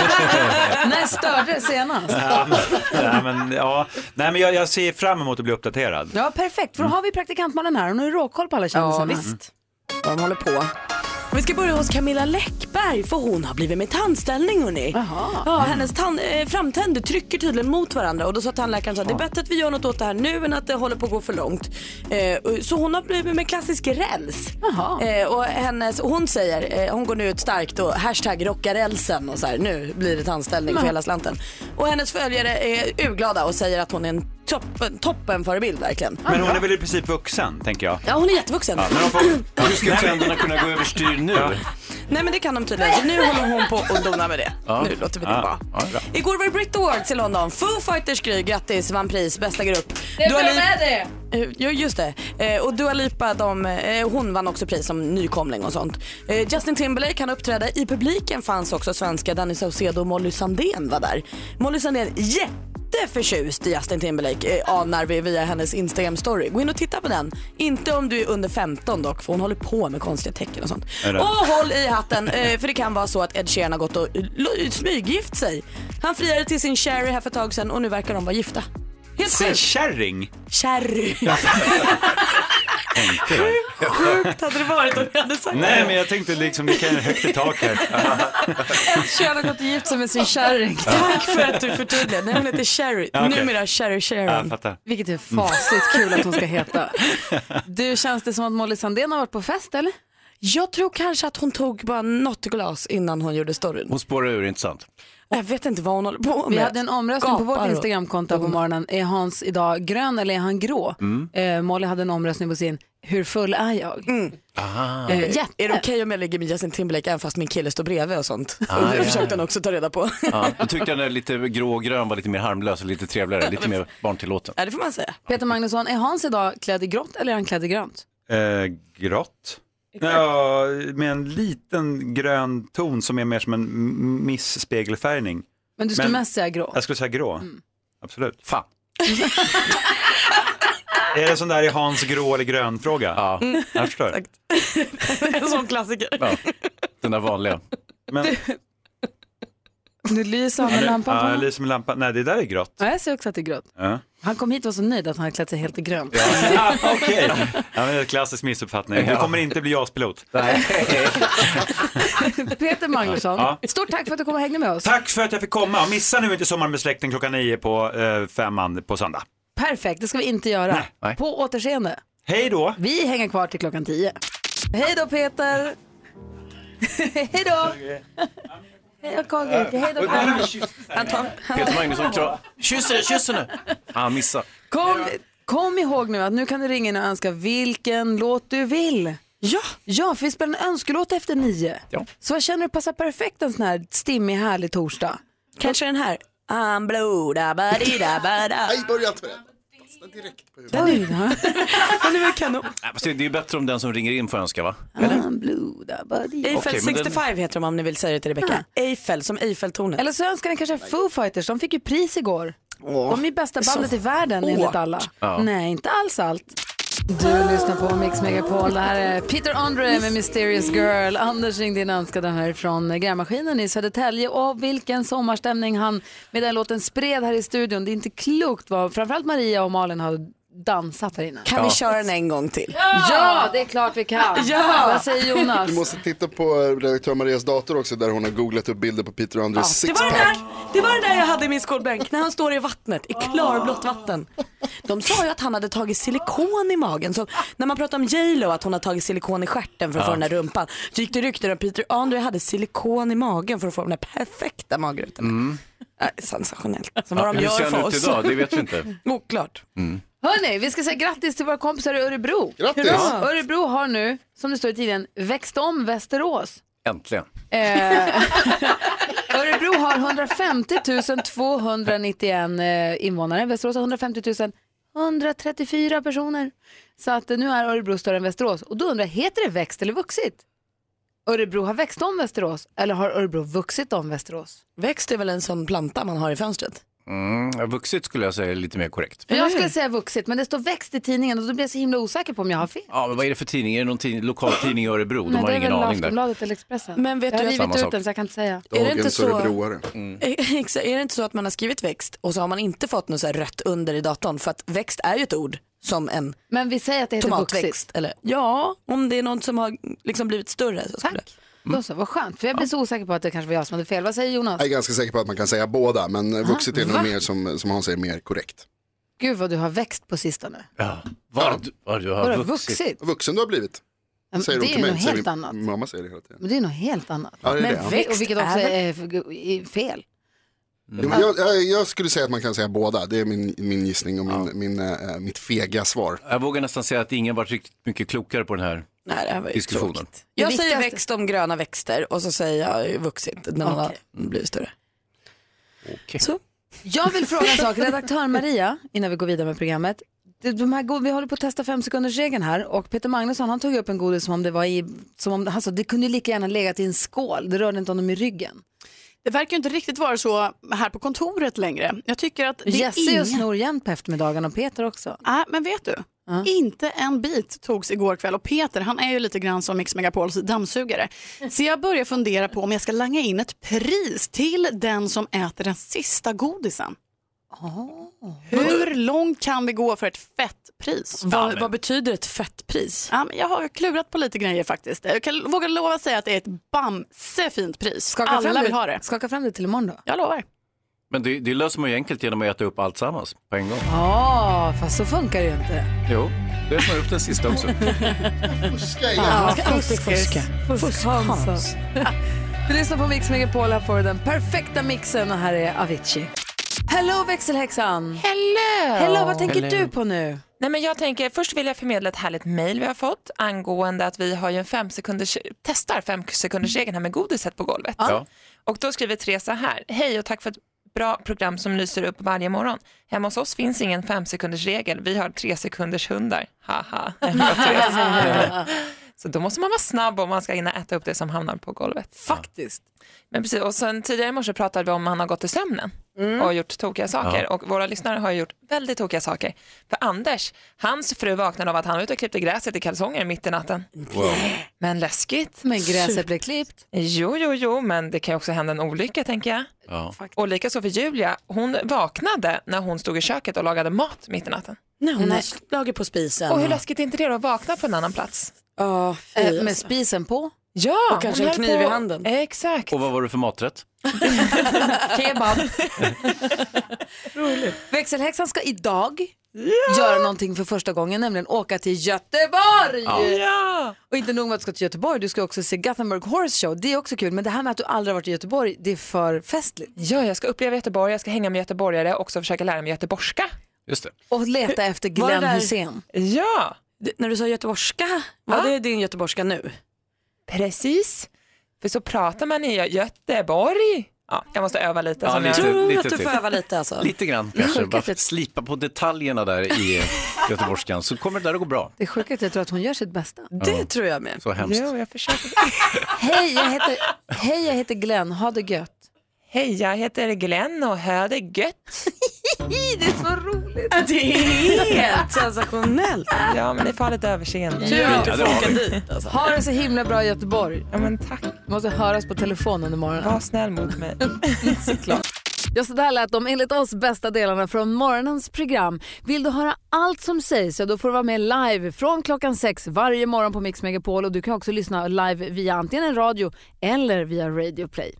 [SPEAKER 1] När störde det senast?
[SPEAKER 19] Ja, men- Nej, men, ja. Nej, men jag, jag ser fram emot att bli uppdaterad.
[SPEAKER 1] Ja, perfekt. För då har vi praktikant Malin här. Hon har ju råkoll på alla kändisarna.
[SPEAKER 2] Ja, visst. De håller på. Vi ska börja hos Camilla Läckberg för hon har blivit med tandställning hörni. Ja, hennes tand, eh, framtänder trycker tydligen mot varandra och då sa tandläkaren att det är bättre att vi gör något åt det här nu än att det håller på att gå för långt. Eh, och- så hon har blivit med klassisk räls. Eh, och hennes, hon säger, eh, hon går nu ut starkt och hashtag rocka rälsen och så här nu blir det tandställning för
[SPEAKER 1] Mm.
[SPEAKER 2] hela slanten. Och hennes följare är urglada och säger att hon är en toppen, toppen förebild verkligen.
[SPEAKER 19] Men hon är väl i princip vuxen, tänker jag.
[SPEAKER 2] Ja, hon är jättevuxen.
[SPEAKER 19] Ja, men hon får...
[SPEAKER 3] Hur ska trenderna kunna gå överstyr nu?
[SPEAKER 2] Nej men det kan de tydligen, så nu håller hon på och donar med det.
[SPEAKER 3] Ja.
[SPEAKER 2] Nu låter vi det
[SPEAKER 3] Ja.
[SPEAKER 2] vara.
[SPEAKER 3] Ja, bra.
[SPEAKER 2] Igår var det Brit Awards i London. Foo Fighters Gry, grattis, vann pris, bästa grupp.
[SPEAKER 14] Det
[SPEAKER 2] Dua
[SPEAKER 14] bra
[SPEAKER 2] Lip-
[SPEAKER 14] med det.
[SPEAKER 2] Eh, Ja just det. Eh, och Dua Lipa, de, eh, hon vann också pris som nykomling och sånt. Eh, Justin Timberlake han uppträdde. I publiken fanns också svenska Danny Saucedo och Molly Sandén var där. Molly Sandén jätteförtjust i Justin Timberlake eh, anar vi via hennes Instagram story. Gå in och titta på den. Inte om du är under 15 dock för hon håller på med konstiga tecken och sånt.
[SPEAKER 21] Är det?
[SPEAKER 2] Och håll i hatten eh, för det kan vara så att Ed Sheeran har gått och lo- smyggift sig. Han friade till sin Cherry här för ett tag sedan och nu verkar de vara gifta. Helt
[SPEAKER 19] Säg
[SPEAKER 2] sjukt.
[SPEAKER 19] kärring.
[SPEAKER 2] Cherry.
[SPEAKER 19] Tänkte jag.
[SPEAKER 2] Sjukt hade det varit om jag hade sagt
[SPEAKER 19] Nej, men jag tänkte liksom, det kan ju högt i tak här.
[SPEAKER 1] Kön har gått och gift sig med sin kärring.
[SPEAKER 2] Tack för att du förtydligade. Nej, hon heter Sherry.
[SPEAKER 19] Ja, okej.
[SPEAKER 2] Numera Sherry
[SPEAKER 19] Ja, jag
[SPEAKER 2] Sharon.
[SPEAKER 19] fattar.
[SPEAKER 1] Vilket är fasligt kul att hon ska heta. Du, känns det som att Molly Sandén har varit på fest eller?
[SPEAKER 2] Jag tror kanske att hon tog bara något glas innan hon gjorde storyn.
[SPEAKER 3] Hon spårar ur, inte sant?
[SPEAKER 2] Jag vet inte vad hon håller på med.
[SPEAKER 1] Vi hade en omröstning på
[SPEAKER 2] Gapar
[SPEAKER 1] vårt
[SPEAKER 2] och-
[SPEAKER 1] Instagramkonto på morgonen. Är Hans idag grön eller är han grå?
[SPEAKER 3] Mm.
[SPEAKER 1] Eh, Molly hade en omröstning på sin Hur full är jag?
[SPEAKER 3] Aha.
[SPEAKER 2] Eh, Mm. Är det okej om jag ligger med Justin Timberlake även fast min kille står bredvid och sånt?
[SPEAKER 3] Ah,
[SPEAKER 2] och det
[SPEAKER 3] ja, ja.
[SPEAKER 2] försökte han också ta reda på.
[SPEAKER 3] Ja, jag tyckte den där lite grå och grön var lite mer harmlös och lite trevligare, lite mer barntillåten.
[SPEAKER 2] Ja, det får man säga.
[SPEAKER 1] Peter Magnusson, är Hans idag klädd i grått eller är han klädd i grönt?
[SPEAKER 19] Eh, grått. Ja, med en liten grön ton som är mer som en m- misspegelfärgning.
[SPEAKER 1] Men du skulle mest säga grå. Mm.
[SPEAKER 19] Jag skulle säga grå.
[SPEAKER 2] Mm.
[SPEAKER 19] Absolut. Fan. är det sån där i Hans grå eller grön fråga? Ja,
[SPEAKER 2] Mm.
[SPEAKER 19] jag förstår.
[SPEAKER 2] en sån klassiker.
[SPEAKER 3] Den där vanliga.
[SPEAKER 19] Men,
[SPEAKER 1] Nu lyser han med lampan på
[SPEAKER 19] ja, jag
[SPEAKER 1] honom.
[SPEAKER 19] lyser med lampan. Nej, det där är grått.
[SPEAKER 1] Ja, jag ser också att det är grått.
[SPEAKER 19] Ja.
[SPEAKER 1] Han kom hit och var så nöjd att han hade klätt sig helt i grönt.
[SPEAKER 19] Okej, ja, men det är en klassisk missuppfattning. Du
[SPEAKER 3] Ja.
[SPEAKER 19] kommer inte bli JAS-pilot.
[SPEAKER 1] Peter Magnusson,
[SPEAKER 19] Ja.
[SPEAKER 1] stort tack för att du kom och hängde med oss.
[SPEAKER 19] Tack för att jag fick komma. Och Missa nu inte Sommar med släkten klockan nio på eh, femman på söndag.
[SPEAKER 1] Perfekt, det ska vi inte göra.
[SPEAKER 19] nej.
[SPEAKER 1] På återseende.
[SPEAKER 19] Hej då!
[SPEAKER 1] Vi hänger kvar till klockan tio. Hej då Peter! Hej då! Hej då Carl-Erik, hej då Per. Han tar- han-
[SPEAKER 3] Peter Magnusson kram. Kyss henne, kyss henne! Ah, missa.
[SPEAKER 1] Kom, kom ihåg nu att nu kan du ringa in och önska vilken låt du vill. Ja, ja för vi spelar en önskelåt efter nio.
[SPEAKER 3] Ja.
[SPEAKER 1] Så vad känner du passar perfekt en sån här stimmig härlig torsdag?
[SPEAKER 2] Kanske den här. I'm blue, da ba di da ba da.
[SPEAKER 6] Nej, börja inte med den. Fastna direkt på huvudet.
[SPEAKER 1] Den är den
[SPEAKER 2] Den är kanon.
[SPEAKER 3] Nej, fast Det det är ju bättre om den som ringer in får önska, va?
[SPEAKER 2] Eiffel
[SPEAKER 3] Okej, men den-
[SPEAKER 2] 65 heter de om ni vill säga det till Rebecca. Eiffel, som Eiffeltornet.
[SPEAKER 1] Eller så önskar ni kanske Foo Fighters, de fick ju pris igår. De är ju bästa
[SPEAKER 2] Så
[SPEAKER 1] bandet i världen
[SPEAKER 2] hårt.
[SPEAKER 1] enligt alla.
[SPEAKER 2] Ja.
[SPEAKER 1] Nej, inte alls allt. Du lyssnar på Mix Megapol. Det här är Peter Andre med Mysterious Girl. Anders ringde in och önskade den här från grävmaskinen i Södertälje. Och vilken sommarstämning han med den låten spred här i studion. Det är inte klokt vad framförallt Maria och Malin har dansat här inne.
[SPEAKER 2] Kan vi köra den en gång till?
[SPEAKER 1] Ja, det är klart vi kan.
[SPEAKER 2] Ja!
[SPEAKER 1] Vad säger Jonas?
[SPEAKER 6] Du måste titta på redaktör Marias dator också där hon har googlat upp bilder på Peter och Andres
[SPEAKER 2] det, var den
[SPEAKER 6] sixpack.
[SPEAKER 2] där, det var den där jag hade i min skolbänk när han står i vattnet, i klarblått vatten. De sa ju att han hade tagit silikon i magen. Så när man pratar om J.Lo att hon har tagit silikon i stjärten för att
[SPEAKER 3] Ja.
[SPEAKER 2] få den där rumpan. Så gick det rykten om Peter Andre hade silikon i magen för att få den där perfekta magrutan.
[SPEAKER 3] Mm.
[SPEAKER 2] Äh, sensationellt. Som vad de
[SPEAKER 3] Hur
[SPEAKER 2] gör
[SPEAKER 3] ser
[SPEAKER 2] för
[SPEAKER 3] han ut
[SPEAKER 2] oss.
[SPEAKER 3] idag? Det vet vi inte.
[SPEAKER 2] Oklart.
[SPEAKER 3] Mm.
[SPEAKER 1] Hörni, vi ska säga grattis till våra kompisar i Örebro.
[SPEAKER 3] Grattis!
[SPEAKER 1] Hurra! Örebro har nu, som det står i tidningen, växt om Västerås.
[SPEAKER 3] Äntligen.
[SPEAKER 1] Eh, Örebro har 150 291 eh, invånare, Västerås har 150 134 personer. Så att eh, nu är Örebro större än Västerås. Och då undrar jag, heter det växt eller vuxit? Örebro har växt om Västerås eller har Örebro vuxit om Västerås?
[SPEAKER 2] Växt är väl en sån planta man har i fönstret?
[SPEAKER 3] Mm, vuxit skulle jag säga är lite mer korrekt.
[SPEAKER 1] För jag skulle säga vuxit, men det står växt i tidningen och då blir jag så himla osäker på om jag har fel.
[SPEAKER 3] Ja, men vad är det för tidning? Är det någon tidning, lokal tidning i Örebro? De
[SPEAKER 1] Nej,
[SPEAKER 3] har
[SPEAKER 1] det är
[SPEAKER 3] ingen
[SPEAKER 1] väl
[SPEAKER 3] aning där.
[SPEAKER 1] Aftonbladet eller Expressen.
[SPEAKER 2] Men vet
[SPEAKER 1] jag har
[SPEAKER 2] du-
[SPEAKER 1] rivit
[SPEAKER 3] Samma
[SPEAKER 1] ut
[SPEAKER 3] sak.
[SPEAKER 1] den så jag kan inte säga.
[SPEAKER 2] Är det inte så?
[SPEAKER 3] Mm.
[SPEAKER 2] Exakt. Är det inte så att man har skrivit växt och så har man inte fått något så här rött under i datorn? För att växt är ju ett ord som en
[SPEAKER 1] Men vi säger att det heter vuxit.
[SPEAKER 2] tomatväxt. Eller, ja, om det är något som har liksom blivit större. Så Tack.
[SPEAKER 1] Då så, vad skönt, för jag blir så osäker på att det kanske var jag som hade fel. Vad säger Jonas?
[SPEAKER 6] Jag är ganska säker på att man kan säga båda, men eh, vuxit är nog mer som, som han säger, mer korrekt.
[SPEAKER 1] Gud vad du har växt på sistone.
[SPEAKER 3] Ja. Vad ja. du
[SPEAKER 1] Vadå, vuxit? vuxit?
[SPEAKER 6] Vuxen du har blivit.
[SPEAKER 1] men
[SPEAKER 6] Säger
[SPEAKER 1] det
[SPEAKER 6] de
[SPEAKER 1] är
[SPEAKER 6] till mig.
[SPEAKER 1] nog
[SPEAKER 6] Säger
[SPEAKER 1] helt
[SPEAKER 6] min
[SPEAKER 1] annat.
[SPEAKER 6] Mamma säger det hela tiden.
[SPEAKER 1] Men det är något helt annat.
[SPEAKER 6] Ja, det är
[SPEAKER 1] men
[SPEAKER 6] det.
[SPEAKER 1] och vilket också
[SPEAKER 6] Växt är
[SPEAKER 1] är, är fel.
[SPEAKER 6] Jo, men Jag, jag, jag skulle säga att man kan säga båda. Det är min, min gissning och min, min, eh, mitt fega svar.
[SPEAKER 3] Jag vågar nästan säga att ingen varit riktigt mycket klokare på den här
[SPEAKER 2] Nej, det här var ju
[SPEAKER 3] diskussionen.
[SPEAKER 2] Jag säger växt om gröna växter och så säger jag vuxit när man har blivit större.
[SPEAKER 1] Så. Jag vill fråga en sak, redaktör Maria, innan vi går vidare med programmet. Det- De här, go- vi håller på att testa femsekundersregeln här och Peter Magnusson han tog upp en godis som om det var i, som om, han sa det kunde ju lika gärna legat i en skål, det rörde inte honom i ryggen.
[SPEAKER 21] Det verkar ju inte riktigt vara så här på kontoret längre. Jag tycker att det
[SPEAKER 1] Jesse
[SPEAKER 21] är ingen...
[SPEAKER 1] och snor igen på eftermiddagen och Peter också.
[SPEAKER 21] Nej, men vet du? Inte en bit togs igår kväll och Peter han är ju lite grann som Mix Megapols dammsugare. Så jag börjar fundera på om jag ska langa in ett pris till den som äter den sista godisen. Hur långt kan vi gå för ett fett pris?
[SPEAKER 2] Vad- vad betyder ett fett pris?
[SPEAKER 21] Ja, men jag har klurat på lite grejer faktiskt. Jag kan våga lova att säga att det är ett bamsefint pris.
[SPEAKER 1] Skaka fram
[SPEAKER 21] Alla
[SPEAKER 1] det-
[SPEAKER 21] vill ha det.
[SPEAKER 1] Skaka fram det till imorgon då.
[SPEAKER 21] Jag lovar.
[SPEAKER 3] Men det, det löser man ju enkelt genom att äta upp allt sammans på en gång.
[SPEAKER 1] Ja, fast så funkar det ju inte.
[SPEAKER 3] Jo, då äter man upp den sista också.
[SPEAKER 6] Fuska
[SPEAKER 1] igen.
[SPEAKER 2] Ja,
[SPEAKER 1] Ja,
[SPEAKER 2] fuskis.
[SPEAKER 1] fuska. Fusk-Hans. Du lyssnar på Mix Megapol, här får du den perfekta mixen och här är Avicii. Hello växelhäxan!
[SPEAKER 5] Hello!
[SPEAKER 1] Hello, vad tänker du på nu?
[SPEAKER 5] Nej, men jag tänker, först vill jag förmedla ett härligt mejl vi har fått angående att vi har ju en fem sekunders, testar fem sekunders här med godiset på golvet.
[SPEAKER 22] Ja.
[SPEAKER 5] Och då skriver Teresa här, hej och tack för ett bra program som lyser upp varje morgon. Hemma hos oss finns ingen fem sekunders vi har tre sekunders hundar. Haha. Teresa. Så då måste man vara snabb om man ska hinna äta upp det som hamnar på golvet.
[SPEAKER 1] Faktiskt.
[SPEAKER 5] Men precis, och sen tidigare i morse pratade vi om han har gått i sömnen
[SPEAKER 22] Mm.
[SPEAKER 5] och gjort tokiga saker.
[SPEAKER 22] Ja.
[SPEAKER 5] Och våra lyssnare har ju gjort väldigt tokiga saker. För Anders, hans fru vaknade av att han var ute och klippte gräset i kalsonger mitt i natten. Men läskigt.
[SPEAKER 1] Men gräset blev klippt.
[SPEAKER 5] Jo, jo, jo, men det kan ju också hända en olycka tänker jag.
[SPEAKER 3] Ja.
[SPEAKER 5] Och likaså för Julia, hon vaknade när hon stod i köket och lagade mat mitt i natten.
[SPEAKER 2] Nej, hon har slagit på spisen.
[SPEAKER 5] Och hur läskigt är inte det då att vakna på en annan plats?
[SPEAKER 2] Ja, fy,
[SPEAKER 5] Eh, med
[SPEAKER 2] alltså.
[SPEAKER 1] spisen på?
[SPEAKER 5] Ja,
[SPEAKER 2] Och kanske
[SPEAKER 5] hon
[SPEAKER 2] en
[SPEAKER 5] höll
[SPEAKER 2] kniv i
[SPEAKER 5] på-
[SPEAKER 2] handen.
[SPEAKER 5] Exakt.
[SPEAKER 3] Och vad var det för maträtt?
[SPEAKER 5] Kebab.
[SPEAKER 1] Växelhäxan ska idag göra någonting för första gången, nämligen åka till Göteborg!
[SPEAKER 5] Ja.
[SPEAKER 1] Och inte nog med att du ska till Göteborg, du ska också se Gothenburg Horse Show. Det är också kul, men det här med att du aldrig har varit i Göteborg, det är för festligt.
[SPEAKER 5] Ja, jag ska uppleva Göteborg, jag ska hänga med göteborgare och också försöka lära mig göteborgska.
[SPEAKER 3] Just det.
[SPEAKER 1] Och leta efter
[SPEAKER 2] Var det
[SPEAKER 1] Glenn
[SPEAKER 2] där-
[SPEAKER 1] Hussein.
[SPEAKER 5] Ja.
[SPEAKER 2] när du sa göteborgska, var det din göteborgska nu?
[SPEAKER 5] Precis, för så pratar man i Göteborg. Ja, jag måste öva lite.
[SPEAKER 3] Ja,
[SPEAKER 5] som
[SPEAKER 3] lite- lite
[SPEAKER 5] jag...
[SPEAKER 3] Tror att du får till. öva
[SPEAKER 2] lite alltså?
[SPEAKER 3] Lite grann kanske, bara slipa på detaljerna där i göteborgskan så kommer det där att gå bra.
[SPEAKER 1] Det är sjukt att jag tror att hon gör sitt bästa.
[SPEAKER 3] Det Ja. tror jag med. Så hemskt.
[SPEAKER 5] Jo, jag försöker.
[SPEAKER 1] Hej, jag heter, hej, jag heter Glenn. Ha det gött.
[SPEAKER 5] Hej, jag heter Glenn och hör det gött.
[SPEAKER 1] det är så roligt. Alltså,
[SPEAKER 2] Det är helt sensationellt.
[SPEAKER 5] Ja, men ni får ha lite överseende.
[SPEAKER 1] Tur att du Ja, det får har åka vi.
[SPEAKER 5] dit. Alltså.
[SPEAKER 1] Ha det så himla bra i Göteborg.
[SPEAKER 5] Ja, men tack.
[SPEAKER 1] Måste höras på telefonen imorgon.
[SPEAKER 5] Var snäll mot mig.
[SPEAKER 1] Såklart. Ja, så där lät de enligt oss bästa delarna från morgonens program. Vill du höra allt som sägs, ja, då får du vara med live från klockan sex varje morgon på Mix Megapol. Och du kan också lyssna live via antingen radio eller via Radio Play.